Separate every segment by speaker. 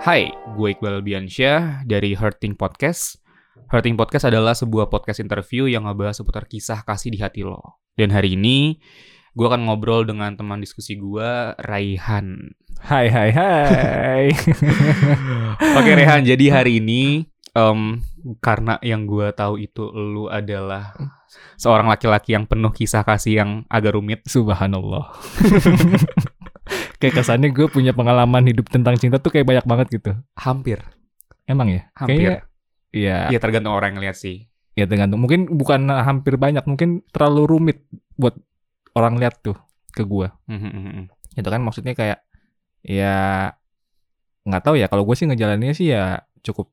Speaker 1: Hai, gue Iqbal Biansyah dari Hurting Podcast. Hurting Podcast adalah sebuah podcast interview yang ngebahas seputar kisah kasih di hati lo. Dan hari ini gue akan ngobrol dengan teman diskusi gue, Raihan.
Speaker 2: Hai hai hai.
Speaker 1: Oke Rehan, jadi hari ini em, karena yang gue tahu itu lu adalah seorang laki-laki yang penuh kisah kasih yang agak rumit.
Speaker 2: Subhanallah. kayak kesannya gue punya pengalaman hidup tentang cinta tuh kayak banyak banget gitu.
Speaker 1: Hampir,
Speaker 2: Emang ya? Kayaknya
Speaker 1: hampir.
Speaker 2: iya.
Speaker 1: Ya tergantung orang yang lihat sih.
Speaker 2: Ya tergantung. Mungkin bukan hampir banyak, mungkin terlalu rumit buat orang lihat tuh ke gue.
Speaker 1: Mhm, mhm, mhm.
Speaker 2: Itu kan maksudnya kayak ya nggak tahu ya. Kalau gue sih ngejalaninnya sih ya cukup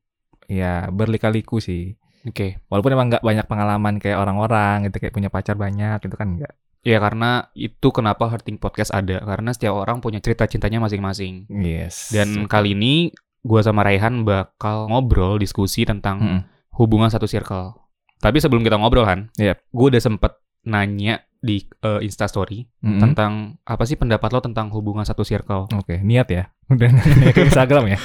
Speaker 2: ya berlika-liku sih.
Speaker 1: Oke.
Speaker 2: Walaupun emang nggak banyak pengalaman kayak orang-orang gitu kayak punya pacar banyak gitu kan enggak.
Speaker 1: Ya karena itu kenapa Hurting Podcast ada karena setiap orang punya cerita cintanya masing-masing.
Speaker 2: Yes.
Speaker 1: Dan kali ini gue sama Raihan bakal ngobrol diskusi tentang
Speaker 2: Mm-mm.
Speaker 1: hubungan satu circle. Tapi sebelum kita ngobrol kan,
Speaker 2: Yep.
Speaker 1: gue udah sempet nanya di eh, Instastory
Speaker 2: Mm-mm.
Speaker 1: tentang apa sih pendapat lo tentang hubungan satu circle.
Speaker 2: Oke, niat ya. Udah nanya ke Instagram ya.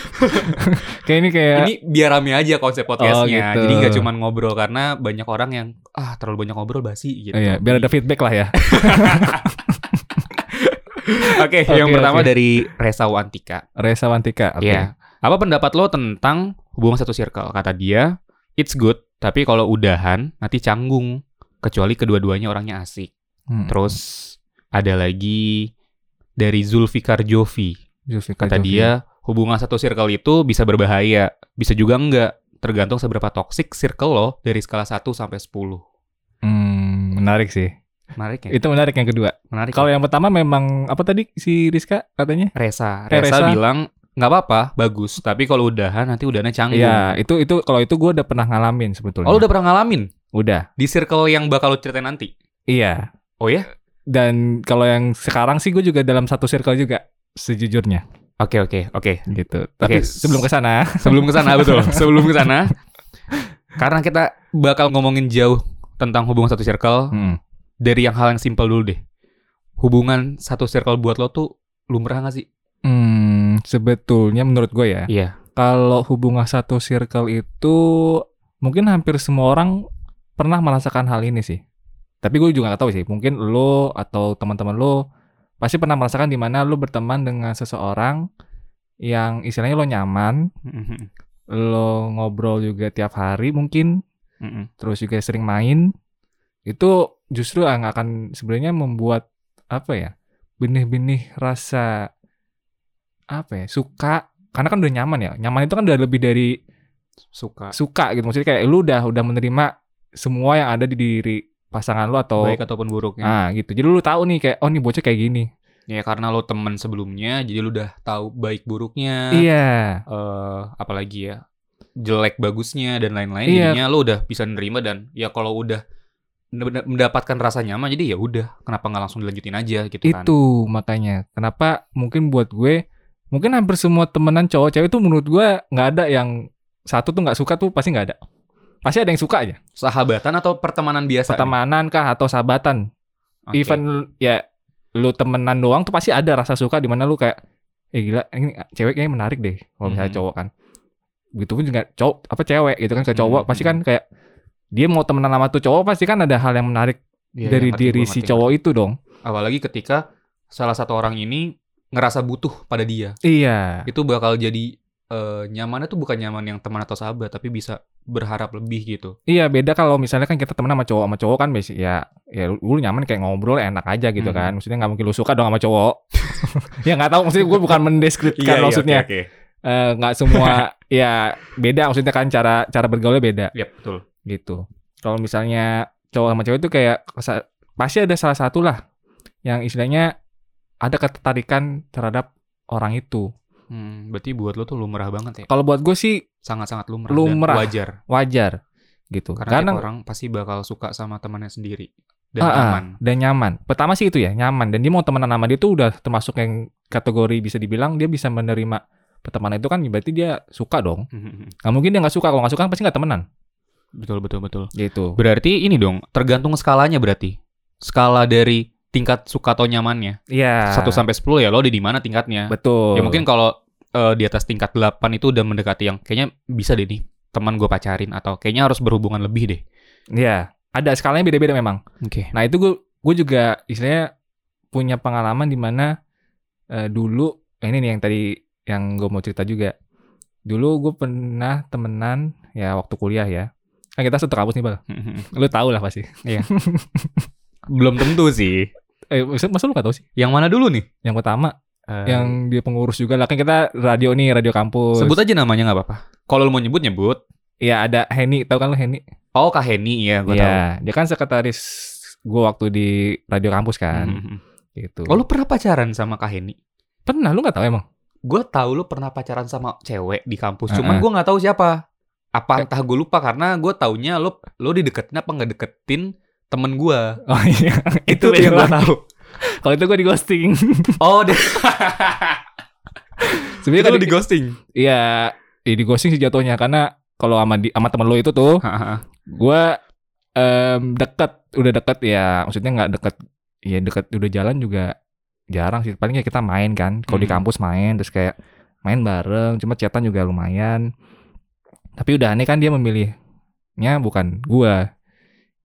Speaker 2: kayak ini kayak
Speaker 1: Ini biar rame aja konsep podcastnya,
Speaker 2: Ya. Oh, gitu.
Speaker 1: jadi nggak cuma ngobrol karena banyak orang yang ah terlalu banyak ngobrol basi gitu.
Speaker 2: Oh, iya, biar ada feedback lah ya.
Speaker 1: Oke, yang
Speaker 2: Oke,
Speaker 1: pertama
Speaker 2: oke.
Speaker 1: dari Resa Antika.
Speaker 2: Resa Wantika. oke.
Speaker 1: Iya. Apa pendapat lo tentang hubungan satu circle? Kata dia, it's good, tapi kalau udahan nanti canggung. Kecuali kedua-duanya orangnya asik.
Speaker 2: Hmm.
Speaker 1: Terus ada lagi dari Zulfikar Jovi.
Speaker 2: Zulfikar
Speaker 1: Kata
Speaker 2: Jovi.
Speaker 1: dia, hubungan satu circle itu bisa berbahaya. Bisa juga enggak. Tergantung seberapa toxic circle lo dari skala 1 sampai 10.
Speaker 2: Hmm, menarik sih.
Speaker 1: Menarik ya?
Speaker 2: Itu menarik yang kedua.
Speaker 1: Menarik.
Speaker 2: Kalau
Speaker 1: ya?
Speaker 2: yang pertama memang apa tadi si Rizka katanya?
Speaker 1: Resa.
Speaker 2: Eh,
Speaker 1: Resa,
Speaker 2: Resa.
Speaker 1: bilang, nggak apa-apa, bagus. Tapi kalau udahan nanti udahannya canggung.
Speaker 2: Iya, itu itu kalau itu gue udah pernah ngalamin sebetulnya.
Speaker 1: Oh, lo udah pernah ngalamin?
Speaker 2: Udah.
Speaker 1: Di circle yang bakal lo ceritain nanti?
Speaker 2: Iya.
Speaker 1: Oh ya?
Speaker 2: Dan kalau yang sekarang sih gue juga dalam satu circle juga sejujurnya
Speaker 1: Oke oke oke.
Speaker 2: gitu.
Speaker 1: Oke.
Speaker 2: Tapi sebelum ke sana,
Speaker 1: Sebelum ke sana betul. Sebelum ke sana karena kita bakal ngomongin jauh tentang hubungan satu circle
Speaker 2: hmm,
Speaker 1: dari yang hal yang simpel dulu deh. Hubungan satu circle buat lo tuh lumrah gak sih?
Speaker 2: Hmm, sebetulnya menurut gue ya,
Speaker 1: Iya.
Speaker 2: kalau hubungan satu circle itu mungkin hampir semua orang pernah merasakan hal ini sih. Tapi gue juga gak tahu sih. Mungkin lo atau teman-teman lo pasti pernah merasakan di mana lo berteman dengan seseorang yang istilahnya lo nyaman,
Speaker 1: Mm-hmm.
Speaker 2: lo ngobrol juga tiap hari mungkin,
Speaker 1: Mm-hmm.
Speaker 2: terus juga sering main. Itu justru yang akan sebenarnya membuat apa ya? benih-benih rasa apa ya? suka karena kan udah nyaman ya. Nyaman itu kan udah lebih dari
Speaker 1: Suka.
Speaker 2: suka gitu maksudnya kayak lu udah udah menerima semua yang ada di diri pasangan lu atau
Speaker 1: Baik ataupun buruknya.
Speaker 2: ah gitu jadi lu tahu nih kayak oh nih bocah kayak gini
Speaker 1: Ya karena lo temen sebelumnya jadi lo udah tahu baik buruknya.
Speaker 2: iya
Speaker 1: eh, apalagi ya jelek bagusnya dan lain-lain
Speaker 2: Iya.
Speaker 1: jadinya lo udah bisa nerima dan ya kalau udah bener- mendapatkan rasa nyaman jadi ya udah kenapa nggak langsung dilanjutin aja gitu kan
Speaker 2: itu makanya kenapa mungkin buat gue mungkin hampir semua temenan cowok cewek itu menurut gue nggak ada yang satu tuh nggak suka tuh pasti nggak ada pasti ada yang suka aja
Speaker 1: sahabatan atau pertemanan biasa
Speaker 2: pertemanan kah atau sahabatan
Speaker 1: nih? ya? Oke.
Speaker 2: even ya lu temenan doang tuh pasti ada rasa suka di mana lu kayak eh gila ini cewek kayaknya menarik deh kalau misalnya
Speaker 1: Mhm.
Speaker 2: cowok kan gitu pun juga cowok apa cewek gitu kan ke cowok
Speaker 1: Mhm.
Speaker 2: pasti kan kayak dia mau temenan sama tuh cowok pasti kan ada hal yang menarik
Speaker 1: Iya,
Speaker 2: dari
Speaker 1: iya, ngerti,
Speaker 2: diri
Speaker 1: gua
Speaker 2: si
Speaker 1: ngerti,
Speaker 2: cowok itu dong
Speaker 1: ngerti. apalagi ketika salah satu orang ini ngerasa butuh pada dia
Speaker 2: iya
Speaker 1: itu bakal jadi eh, nyamannya tuh bukan nyaman yang teman atau sahabat tapi bisa berharap lebih gitu
Speaker 2: iya beda kalau misalnya kan kita temenan sama cowok sama cowok kan basic ya ya lu, lu nyaman kayak ngobrol enak aja gitu
Speaker 1: Mhm.
Speaker 2: kan maksudnya nggak mungkin lu suka dong sama cowok ya nggak tahu maksudnya gue bukan
Speaker 1: Iya,
Speaker 2: mendeskripsikan Kan maksudnya Eh, nggak semua ya beda maksudnya kan cara cara bergaulnya beda
Speaker 1: Iya, betul
Speaker 2: gitu. Kalau misalnya cowok sama cewek itu kayak kesa- pasti ada salah satu lah yang istilahnya ada ketertarikan terhadap orang itu.
Speaker 1: Hmm, berarti buat lo tuh lumrah banget ya
Speaker 2: Kalau buat gue sih
Speaker 1: sangat-sangat lumrah,
Speaker 2: Lumrah.
Speaker 1: dan wajar
Speaker 2: wajar gitu.
Speaker 1: Karena, tiap orang pasti bakal suka sama temannya sendiri dan
Speaker 2: Ah, ah,
Speaker 1: nyaman.
Speaker 2: dan nyaman. Pertama sih itu ya, nyaman dan dia mau temenan sama dia tuh udah termasuk yang kategori bisa dibilang dia bisa menerima pertemanan itu kan berarti dia suka dong. Nggak mungkin dia nggak suka. Kalau nggak suka kan pasti nggak temenan
Speaker 1: Betul betul betul.
Speaker 2: gitu.
Speaker 1: Berarti ini dong, tergantung skalanya berarti. Skala dari tingkat suka atau nyamannya. Ah.
Speaker 2: Iya.
Speaker 1: 1 sampai 10 ya lo ada di mana tingkatnya.
Speaker 2: betul.
Speaker 1: Ya mungkin kalau eh, di atas tingkat 8 itu udah mendekati yang kayaknya bisa deh nih teman gue pacarin atau kayaknya harus berhubungan lebih deh.
Speaker 2: Iya, ada skalanya beda-beda memang.
Speaker 1: Oke.
Speaker 2: Nah, itu gue gue juga istilahnya punya pengalaman di mana eh, dulu ini nih yang tadi yang gue mau cerita juga. Dulu gue pernah temenan ya waktu kuliah ya. Kan kita satu kampus nih, Bal. Lu tau lah pasti.
Speaker 1: Iya. Belum tentu sih.
Speaker 2: Eh, masa, masa lu gak tau sih?
Speaker 1: Yang mana dulu nih?
Speaker 2: Yang pertama,
Speaker 1: Eh,
Speaker 2: yang dia pengurus juga lah. Kan kita radio nih, radio kampus.
Speaker 1: sebut aja namanya nggak apa-apa. Kalau lu mau nyebut nyebut.
Speaker 2: Iya, ada Henny. Tau kan lu Henny?
Speaker 1: Oh Kak Heni ya, gue tahu.
Speaker 2: Iya, dia kan sekretaris gue waktu di radio kampus kan.
Speaker 1: Mhm.
Speaker 2: Gitu.
Speaker 1: Oh lu pernah pacaran sama Kak Heni?
Speaker 2: pernah lu gak tau emang?
Speaker 1: Gue tahu lu pernah pacaran sama cewek di kampus.
Speaker 2: Heeh.
Speaker 1: Cuman gue nggak tahu siapa. Apa entah gue lupa karena gue taunya lu lu dideketin apa nggak deketin temen gue.
Speaker 2: Oh iya,
Speaker 1: Itu tuh yang gue
Speaker 2: beda.
Speaker 1: tahu.
Speaker 2: Kalau itu gue di ghosting.
Speaker 1: Oh dia
Speaker 2: Sebenarnya kan
Speaker 1: di ghosting.
Speaker 2: Iya, ya di ghosting sih jatuhnya karena kalau sama di sama temen lu itu tuh gua em, deket udah deket ya maksudnya nggak deket ya deket udah jalan juga jarang sih paling ya kita main kan kalau di
Speaker 1: Hmm.
Speaker 2: kampus main terus kayak main bareng cuma chatan juga lumayan tapi udah aneh kan dia memilihnya bukan gua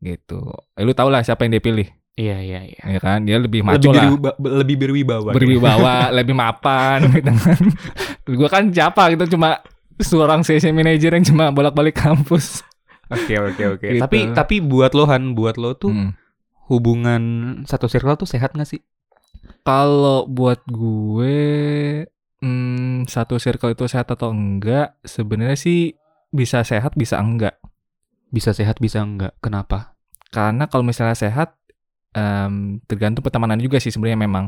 Speaker 2: gitu eh, lu tau lah siapa yang dia pilih
Speaker 1: Iya iya iya.
Speaker 2: ya kan dia lebih
Speaker 1: Lebih
Speaker 2: maco lah
Speaker 1: berwiba- lebih berwibawa.
Speaker 2: berwibawa, lebih mapan gitu kan. Gue kan siapa gitu cuma seorang sesi manager yang cuma bolak-balik kampus.
Speaker 1: Oke oke oke.
Speaker 2: Gitu.
Speaker 1: Tapi tapi buat lo Han, buat lo tuh
Speaker 2: Hmm.
Speaker 1: hubungan satu circle tuh sehat gak sih?
Speaker 2: Kalau buat gue hmm, satu circle itu sehat atau enggak sebenarnya sih bisa sehat bisa enggak.
Speaker 1: Bisa sehat bisa enggak? Kenapa?
Speaker 2: Karena kalau misalnya sehat em, tergantung pertemanan juga sih sebenarnya memang.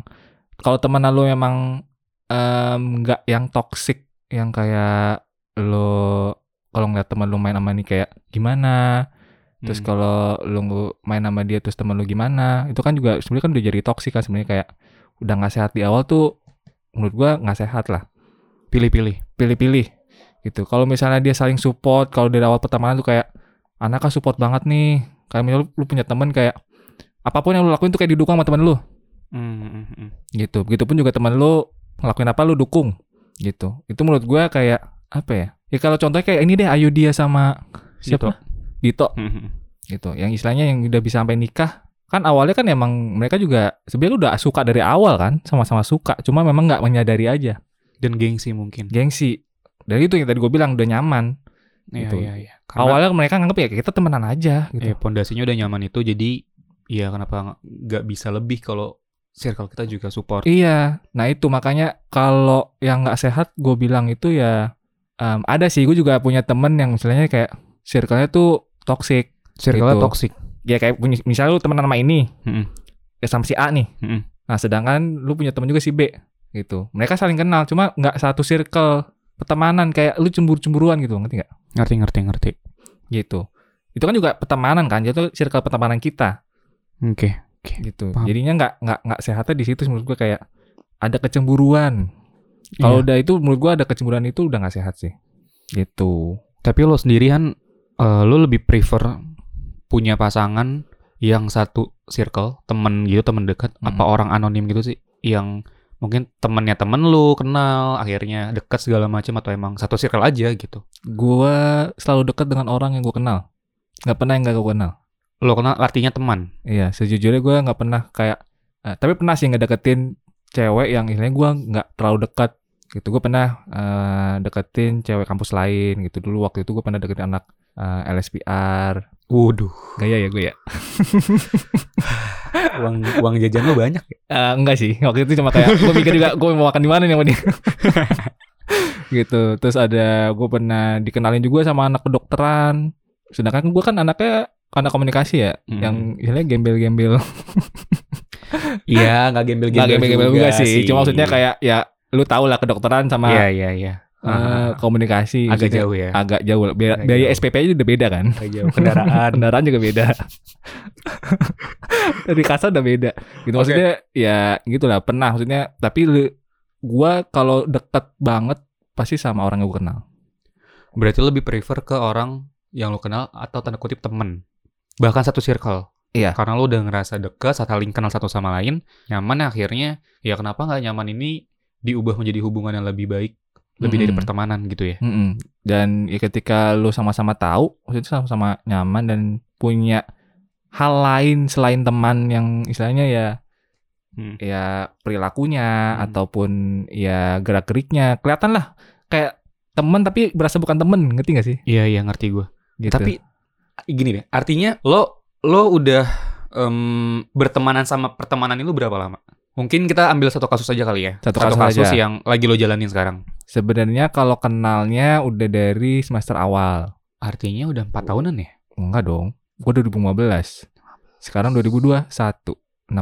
Speaker 2: Kalau temanan lo memang em, enggak yang toxic yang kayak lo kalau ngeliat teman lo main sama nih kayak gimana Terus
Speaker 1: Hmm.
Speaker 2: kalau lu ngu- main sama dia terus temen lu gimana? Itu kan juga sebenarnya kan udah jadi toksik kan sebenarnya kayak udah nggak sehat di awal tuh menurut gua nggak sehat lah.
Speaker 1: pilih-pilih.
Speaker 2: Pilih-pilih gitu. Kalau misalnya dia saling support, kalau dari awal pertemanan tuh kayak anaknya support banget nih. Kayak misalnya lu, lu punya temen kayak apapun yang lu lakuin tuh kayak didukung sama temen lu
Speaker 1: Hmm.
Speaker 2: gitu. Begitupun juga temen lu ngelakuin apa lu dukung gitu. Itu menurut gua kayak apa ya? Ya kalau contohnya kayak ini deh Ayu dia sama siapa? Dito gitu yang istilahnya yang udah bisa sampai nikah kan awalnya kan emang mereka juga sebenarnya udah suka dari awal kan sama-sama suka cuma memang nggak menyadari aja
Speaker 1: Dan gengsi mungkin.
Speaker 2: gengsi dan itu yang tadi gue bilang udah nyaman
Speaker 1: Iya
Speaker 2: Gitu.
Speaker 1: iya iya. Karena
Speaker 2: awalnya mereka nganggep ya kita temenan aja
Speaker 1: ya,
Speaker 2: gitu
Speaker 1: pondasinya udah nyaman itu jadi ya kenapa nggak bisa lebih kalau circle kita juga support.
Speaker 2: iya nah itu makanya kalau yang nggak sehat gue bilang itu ya em, ada sih gue juga punya temen yang misalnya kayak circle-nya tuh toxic
Speaker 1: Circle-nya
Speaker 2: Gitu.
Speaker 1: toxic.
Speaker 2: ya kayak punya- misalnya lu temenan sama ini
Speaker 1: Mm-mm.
Speaker 2: ya sama si A nih
Speaker 1: Mm-mm.
Speaker 2: Nah, sedangkan lu punya teman juga si B gitu. Mereka saling kenal, cuma nggak satu circle pertemanan kayak lu cemburu-cemburuan gitu, ngerti nggak?
Speaker 1: Ngerti ngerti ngerti.
Speaker 2: Gitu. Itu kan juga pertemanan kan, jadi circle pertemanan kita
Speaker 1: Oke.
Speaker 2: gitu.
Speaker 1: Paham.
Speaker 2: Jadinya nggak nggak nggak sehatnya di situ menurut gua kayak ada kecemburuan.
Speaker 1: Iya.
Speaker 2: Kalau udah itu menurut gua ada kecemburuan itu udah nggak sehat sih. Gitu.
Speaker 1: Tapi lo sendirian, lo lebih prefer punya pasangan yang satu circle, temen gitu, temen dekat,
Speaker 2: Hmm.
Speaker 1: apa orang anonim gitu sih? Yang mungkin temennya temen lu kenal, akhirnya dekat segala macam atau emang satu circle aja gitu?
Speaker 2: Gua selalu dekat dengan orang yang gua kenal. Nggak pernah yang nggak gua kenal.
Speaker 1: Lo kenal artinya teman.
Speaker 2: Iya, sejujurnya gue nggak pernah kayak, eh, tapi pernah sih ngedeketin cewek yang istilahnya gue nggak terlalu dekat gitu. Gue pernah eh, deketin cewek kampus lain gitu dulu. Waktu itu gue pernah deketin anak eh, LSPR.
Speaker 1: Waduh,
Speaker 2: Gaya ya gue ya?
Speaker 1: uang uang jajan lo banyak ya?
Speaker 2: Eh, enggak sih. Waktu itu cuma kayak gue mikir juga gue mau makan di mana nih sama dia. gitu. Terus ada gue pernah dikenalin juga sama anak kedokteran. Sedangkan gue kan anaknya anak komunikasi ya,
Speaker 1: Hmm.
Speaker 2: yang istilahnya gembel-gembel
Speaker 1: Iya, nggak
Speaker 2: Gak
Speaker 1: gembel-gembel
Speaker 2: gembel-gembel juga, sih. Cuma maksudnya kayak ya lu tau lah kedokteran sama
Speaker 1: Iya, iya, iya.
Speaker 2: eh, komunikasi
Speaker 1: Agak
Speaker 2: maksudnya
Speaker 1: jauh ya.
Speaker 2: Agak jauh. lah. Biaya,
Speaker 1: Agak
Speaker 2: biaya
Speaker 1: jauh.
Speaker 2: SPP aja udah beda kan.
Speaker 1: Agak jauh kendaraan.
Speaker 2: Kendaraan juga beda. Dari kasar udah beda. Gitu
Speaker 1: Oke.
Speaker 2: maksudnya ya gitulah pernah maksudnya tapi lu- gua kalau deket banget pasti sama orang yang gua kenal.
Speaker 1: Berarti lo lebih prefer ke orang yang lo kenal atau tanda kutip temen. Bahkan satu circle.
Speaker 2: Iya.
Speaker 1: Karena lo udah ngerasa deket, saling kenal satu sama ya lain, nyaman akhirnya. Ya kenapa nggak nyaman ini diubah menjadi hubungan yang lebih baik lebih dari
Speaker 2: Mm-mm.
Speaker 1: pertemanan gitu ya.
Speaker 2: Mm-mm. Dan ya ketika lu sama-sama tahu, maksudnya sama-sama nyaman dan punya hal lain selain teman yang istilahnya ya
Speaker 1: Hmm.
Speaker 2: ya perilakunya
Speaker 1: Hmm.
Speaker 2: ataupun ya gerak-geriknya kelihatan lah kayak teman tapi berasa bukan temen ngerti gak sih?
Speaker 1: Iya iya ngerti gue.
Speaker 2: Gitu.
Speaker 1: Tapi gini deh, artinya lo lo udah em, bertemanan sama pertemanan itu berapa lama? Mungkin kita ambil satu kasus aja kali ya.
Speaker 2: Satu kasus aja.
Speaker 1: yang lagi lo jalanin sekarang.
Speaker 2: sebenarnya kalau kenalnya udah dari semester awal.
Speaker 1: Artinya udah empat tahunan ya?
Speaker 2: Enggak dong. Gua 2015. Sekarang 2021, 6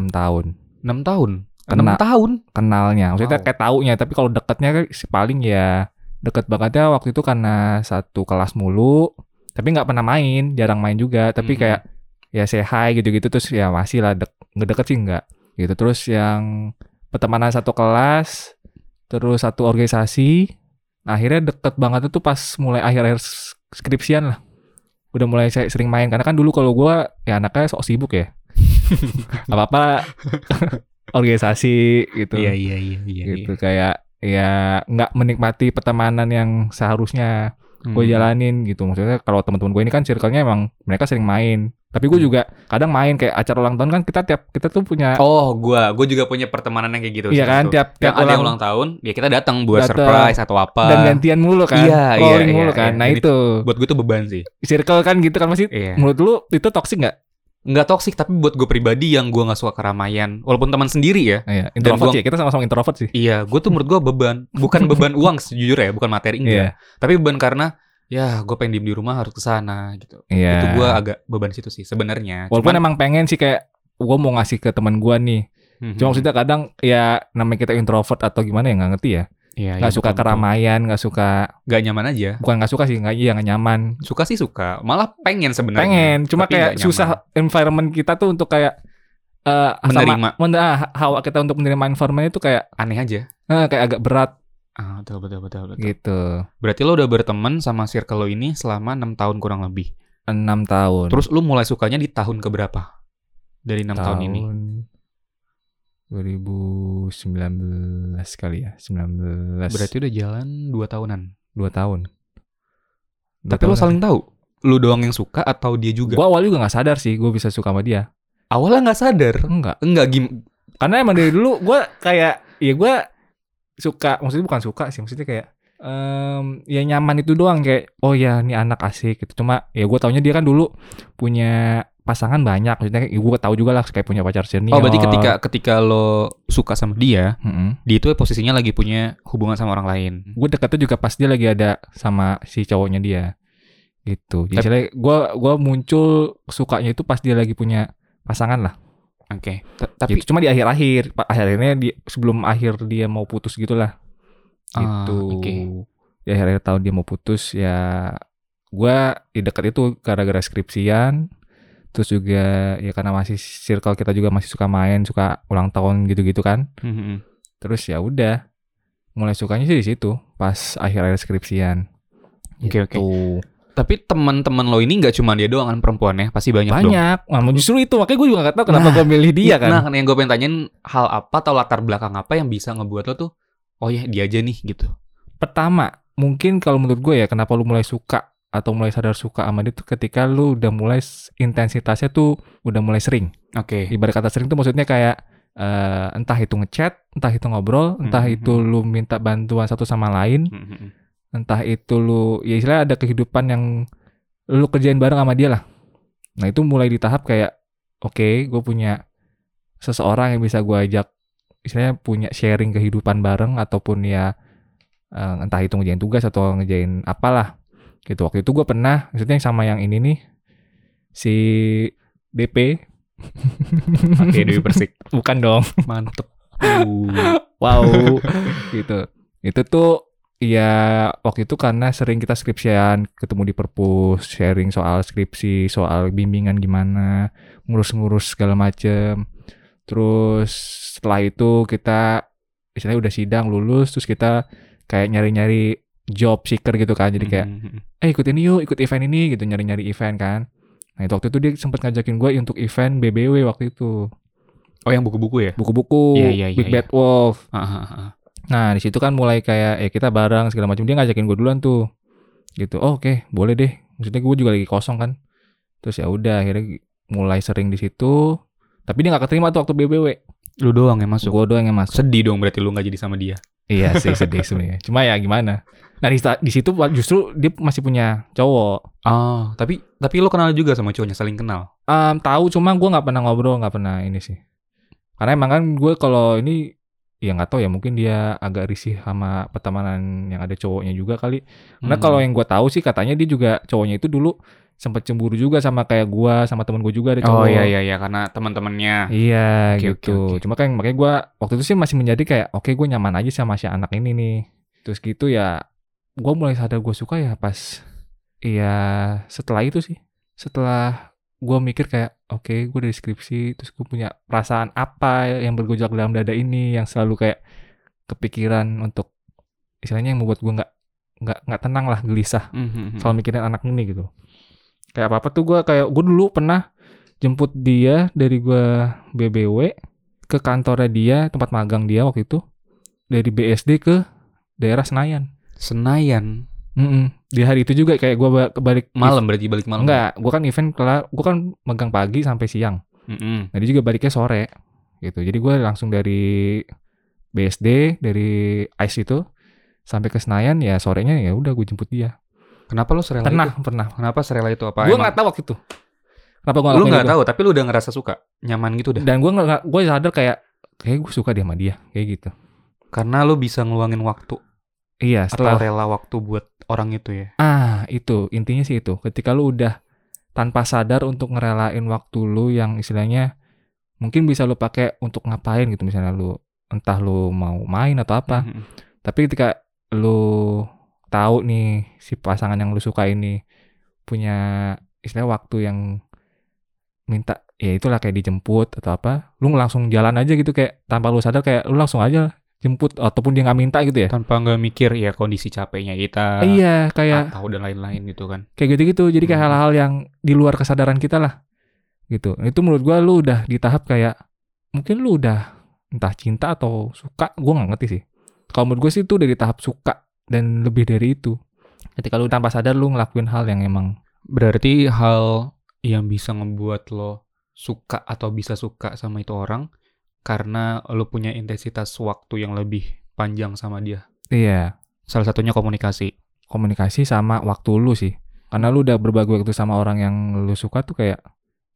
Speaker 2: tahun.
Speaker 1: 6 tahun.
Speaker 2: Kena-
Speaker 1: 6 tahun.
Speaker 2: kenalnya. Maksudnya
Speaker 1: Wow.
Speaker 2: kayak taunya, tapi kalau deketnya kan sih paling ya deket bangetnya waktu itu karena satu kelas mulu, tapi nggak pernah main, jarang main juga, tapi
Speaker 1: Mm.
Speaker 2: kayak ya say hi gitu-gitu terus ya masih lah dek ngedeket sih nggak gitu. Terus yang pertemanan satu kelas, terus satu organisasi, nah, akhirnya deket banget itu pas mulai akhir-akhir s- skripsian lah. Udah mulai saya sering main karena kan dulu kalau gua ya anaknya sok sibuk ya. Apa-apa organisasi gitu
Speaker 1: iya iya iya.
Speaker 2: gitu kayak ya nggak menikmati pertemanan yang
Speaker 1: iya.
Speaker 2: seharusnya gue
Speaker 1: Hmm.
Speaker 2: jalanin gitu maksudnya kalau teman-teman gue ini kan circle-nya emang mereka sering main tapi
Speaker 1: Hmm.
Speaker 2: gue juga kadang main kayak acara ulang tahun kan kita tiap kita tuh punya
Speaker 1: Oh, gua gua juga punya pertemanan yang kayak gitu.
Speaker 2: iya kan
Speaker 1: Tiap,
Speaker 2: tiap tiap
Speaker 1: ada yang ulang tahun, ya kita datang buat
Speaker 2: Datang.
Speaker 1: surprise atau apa.
Speaker 2: dan gantian mulu kan
Speaker 1: Iya, iya,
Speaker 2: calling
Speaker 1: iya,
Speaker 2: mulu kan
Speaker 1: iya.
Speaker 2: nah
Speaker 1: Jadi-
Speaker 2: itu
Speaker 1: buat gue tuh beban sih.
Speaker 2: circle kan gitu kan masih
Speaker 1: Iya.
Speaker 2: menurut lu itu toksik nggak
Speaker 1: Nggak toksik tapi buat gue pribadi yang gua nggak suka keramaian, walaupun teman sendiri ya.
Speaker 2: iya introvert
Speaker 1: gua-
Speaker 2: sih ya, kita sama-sama introvert sih
Speaker 1: Iya, gue tuh menurut gue beban, bukan beban uang sejujurnya ya, bukan materi
Speaker 2: Iya.
Speaker 1: enggak. Tapi beban karena ya gue pengen diem di rumah harus ke sana gitu.
Speaker 2: iya
Speaker 1: Itu gue agak beban situ sih sebenarnya.
Speaker 2: walaupun
Speaker 1: Cuman-
Speaker 2: emang pengen sih kayak gue mau ngasih ke teman gue nih
Speaker 1: Mhm.
Speaker 2: cuma maksudnya kadang ya namanya kita introvert atau gimana ya nggak ngerti ya
Speaker 1: Iya,
Speaker 2: nggak
Speaker 1: iya,
Speaker 2: suka
Speaker 1: betul-betul.
Speaker 2: keramaian nggak suka
Speaker 1: Gak nyaman aja.
Speaker 2: bukan nggak suka sih nggak iya nggak nyaman
Speaker 1: Suka sih suka, malah pengen sebenarnya.
Speaker 2: pengen cuma
Speaker 1: Tapi
Speaker 2: kayak
Speaker 1: nggak nyaman.
Speaker 2: susah environment kita tuh untuk kayak eh,
Speaker 1: Menerima.
Speaker 2: sama, men- ah, hawa kita untuk menerima environment itu kayak
Speaker 1: Aneh aja.
Speaker 2: eh, kayak agak berat
Speaker 1: Ah, betul betul betul betul.
Speaker 2: gitu
Speaker 1: Berarti lo udah berteman sama circle lo ini selama 6 tahun kurang lebih.
Speaker 2: enam tahun
Speaker 1: Terus lo mulai sukanya di tahun keberapa? Dari 6 tahun, ini.
Speaker 2: 2019 kali ya 19
Speaker 1: Berarti udah jalan 2 tahunan.
Speaker 2: dua tahun Dua
Speaker 1: Tapi lo
Speaker 2: tahun.
Speaker 1: saling tahu. Lo doang yang suka atau dia juga?
Speaker 2: gua awal juga nggak sadar sih gue bisa suka sama dia
Speaker 1: Awalnya nggak sadar.
Speaker 2: enggak
Speaker 1: Enggak gim
Speaker 2: karena emang dari dulu gue kayak ya gue suka maksudnya bukan suka sih maksudnya kayak em, ya nyaman itu doang kayak oh ya ini anak asik gitu cuma ya gue taunya dia kan dulu punya pasangan banyak maksudnya gue tahu juga lah kayak punya pacar senior
Speaker 1: Oh, berarti ketika ketika lo suka sama dia, dia itu posisinya lagi punya hubungan sama orang lain.
Speaker 2: gue deketnya juga pas dia lagi ada sama si cowoknya dia gitu
Speaker 1: Tapi-
Speaker 2: jadi gue gua muncul sukanya itu pas dia lagi punya pasangan lah
Speaker 1: Oke. Ta- Tapi
Speaker 2: gitu. cuma di akhir-akhir pa- akhirnya di, sebelum akhir dia mau putus gitulah
Speaker 1: Ah,
Speaker 2: gitu
Speaker 1: oke.
Speaker 2: di akhir-akhir tahun dia mau putus ya gua di dekat itu gara-gara skripsian terus juga ya karena masih circle kita juga masih suka main suka ulang tahun gitu-gitu kan
Speaker 1: Mhm.
Speaker 2: terus ya udah mulai sukanya sih di situ pas akhir-akhir skripsian
Speaker 1: Oke, oke.
Speaker 2: Gitu.
Speaker 1: tapi teman-teman lo ini nggak cuma dia doang kan perempuannya, pasti banyak, dong.
Speaker 2: banyak nah, justru itu makanya gue juga gak tahu kenapa gua milih dia kan
Speaker 1: Nah, yang gue pengen tanyain hal apa atau latar belakang apa yang bisa ngebuat lo tuh, oh ya dia aja nih gitu.
Speaker 2: pertama mungkin kalau menurut gue ya kenapa lu mulai suka atau mulai sadar suka sama dia tuh ketika lu udah mulai s- intensitasnya tuh udah mulai sering
Speaker 1: Oke.
Speaker 2: ibarat kata sering tuh maksudnya kayak eh, entah itu ngechat entah itu ngobrol entah
Speaker 1: Mhm.
Speaker 2: itu lu minta bantuan satu sama lain
Speaker 1: Mhm.
Speaker 2: entah itu lu ya istilahnya ada kehidupan yang lu kerjain bareng sama dia lah nah itu mulai di tahap kayak oke gue punya seseorang yang bisa gue ajak istilahnya punya sharing kehidupan bareng ataupun ya eh, entah itu ngejain tugas atau ngejain apalah gitu waktu itu gue pernah maksudnya yang sama yang ini nih si DP
Speaker 1: Oke, Dewi Persik.
Speaker 2: bukan dong
Speaker 1: Mantep. Uh.
Speaker 2: wow gitu itu tuh ya waktu itu karena sering kita skripsian ketemu di perpus sharing soal skripsi soal bimbingan gimana ngurus-ngurus segala macem terus setelah itu kita istilahnya udah sidang lulus terus kita kayak nyari-nyari job seeker gitu kan jadi kayak
Speaker 1: Mhm.
Speaker 2: eh ikut ini yuk ikut event ini gitu nyari-nyari event kan nah itu waktu itu dia sempat ngajakin gue untuk event BBW waktu itu
Speaker 1: Oh, yang buku-buku ya?
Speaker 2: buku-buku
Speaker 1: Iya, iya, iya,
Speaker 2: Big
Speaker 1: iya.
Speaker 2: Bad Wolf
Speaker 1: Ah, ah, ah.
Speaker 2: Nah di situ kan mulai kayak eh kita bareng segala macam dia ngajakin gue duluan tuh gitu. Oh, Oke boleh deh. Maksudnya gue juga lagi kosong kan. Terus ya udah akhirnya mulai sering di situ. Tapi dia nggak keterima tuh waktu BBW.
Speaker 1: Lu doang yang masuk.
Speaker 2: Gue doang yang masuk.
Speaker 1: Sedih dong berarti lu nggak jadi sama dia.
Speaker 2: iya sih sedih sebenarnya. Cuma ya gimana. Nah di, sta- di situ justru dia masih punya cowok.
Speaker 1: Oh, tapi tapi lu kenal juga sama cowoknya, saling kenal.
Speaker 2: Em, Mmm, tahu cuma gue nggak pernah ngobrol nggak pernah ini sih karena emang kan gue kalau ini ya nggak tahu ya mungkin dia agak risih sama pertemanan yang ada cowoknya juga kali karena
Speaker 1: Hmm.
Speaker 2: kalau yang gue tahu sih katanya dia juga cowoknya itu dulu sempet cemburu juga sama kayak gue sama temen gue juga ada
Speaker 1: Oh
Speaker 2: cowok
Speaker 1: iya iya iya karena teman-temannya.
Speaker 2: Iya
Speaker 1: Oke,
Speaker 2: gitu.
Speaker 1: oke, oke.
Speaker 2: Cuma kan makanya gua waktu itu sih masih menjadi kayak oke gue nyaman aja sama si anak ini nih. Terus gitu ya gua mulai sadar gue suka ya pas iya setelah itu sih. Setelah gua mikir kayak oke gue dari skripsi terus gue punya perasaan apa yang bergejolak dalam dada ini yang selalu kayak kepikiran untuk istilahnya yang membuat gue nggak nggak nggak tenang lah gelisah
Speaker 1: Mhm.
Speaker 2: soal mikirin anak ini gitu kayak apa apa tuh gue kayak gue dulu pernah jemput dia dari gue BBW ke kantornya dia tempat magang dia waktu itu dari BSD ke daerah Senayan
Speaker 1: Senayan.
Speaker 2: Mm-mm. di hari itu juga kayak gue balik
Speaker 1: Malam berarti balik malam.
Speaker 2: enggak gue kan event kelar gue kan magang pagi sampai siang
Speaker 1: Mhm.
Speaker 2: nah dia juga baliknya sore gitu jadi gue langsung dari BSD dari ICE itu sampai ke Senayan ya sorenya ya udah gue jemput dia
Speaker 1: Kenapa lu serela itu?
Speaker 2: pernah pernah
Speaker 1: Kenapa serela itu apa?
Speaker 2: gue
Speaker 1: Emang-
Speaker 2: nggak tahu waktu itu kenapa gue
Speaker 1: lu nggak tahu tapi lu udah ngerasa suka, nyaman gitu dah.
Speaker 2: dan gue nggak gue sadar kayak kayak gue suka dia sama dia kayak gitu
Speaker 1: Karena lu bisa ngeluangin waktu
Speaker 2: iya
Speaker 1: atau
Speaker 2: setelah
Speaker 1: rela waktu buat orang itu ya.
Speaker 2: ah itu intinya sih itu ketika lu udah tanpa sadar untuk ngerelain waktu lu yang istilahnya mungkin bisa lu pakai untuk ngapain gitu misalnya lu entah lu mau main atau apa
Speaker 1: Mhm.
Speaker 2: tapi ketika lu tahu nih si pasangan yang lu suka ini punya istilah waktu yang minta ya itulah kayak dijemput atau apa lu langsung jalan aja gitu kayak tanpa lu sadar kayak lu langsung aja jemput ataupun dia nggak minta gitu ya
Speaker 1: Tanpa nggak mikir ya kondisi capeknya kita.
Speaker 2: iya kayak
Speaker 1: Atau dan lain-lain gitu kan.
Speaker 2: kayak gitu-gitu jadi kayak
Speaker 1: Hmm.
Speaker 2: hal-hal yang di luar kesadaran kita lah gitu itu menurut gua lu udah di tahap kayak mungkin lu udah entah cinta atau suka gua nggak ngerti sih kalau menurut gue sih itu udah di tahap suka dan lebih dari itu ketika lu tanpa sadar lu ngelakuin hal yang emang
Speaker 1: Berarti hal yang bisa ngebuat lo suka atau bisa suka sama itu orang karena lo punya intensitas waktu yang lebih panjang sama dia.
Speaker 2: iya
Speaker 1: Salah satunya komunikasi.
Speaker 2: komunikasi sama waktu lu sih karena lu udah berbagi waktu sama orang yang lu suka tuh kayak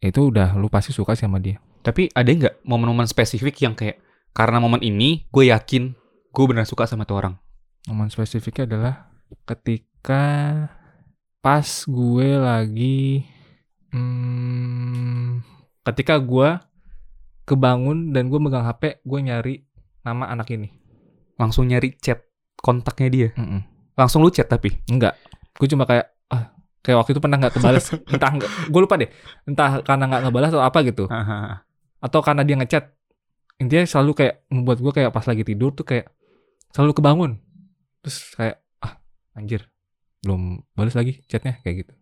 Speaker 2: itu udah lu pasti suka sih sama dia
Speaker 1: Tapi ada nggak momen-momen spesifik yang kayak karena momen ini gue yakin gue benar suka sama tuh orang.
Speaker 2: momen spesifiknya adalah ketika pas gue lagi hmm, ketika gue kebangun dan gue megang HP gue nyari nama anak ini
Speaker 1: Langsung nyari chat kontaknya dia.
Speaker 2: Mm-mm.
Speaker 1: Langsung lu chat tapi.
Speaker 2: enggak gue cuma kayak ah, kayak waktu itu pernah nggak kebales entah nggak- gue lupa deh entah karena nggak ngebalas atau apa gitu atau karena dia ngechat intinya selalu kayak membuat gue kayak pas lagi tidur tuh kayak selalu kebangun terus kayak ah anjir belum balas lagi chatnya kayak gitu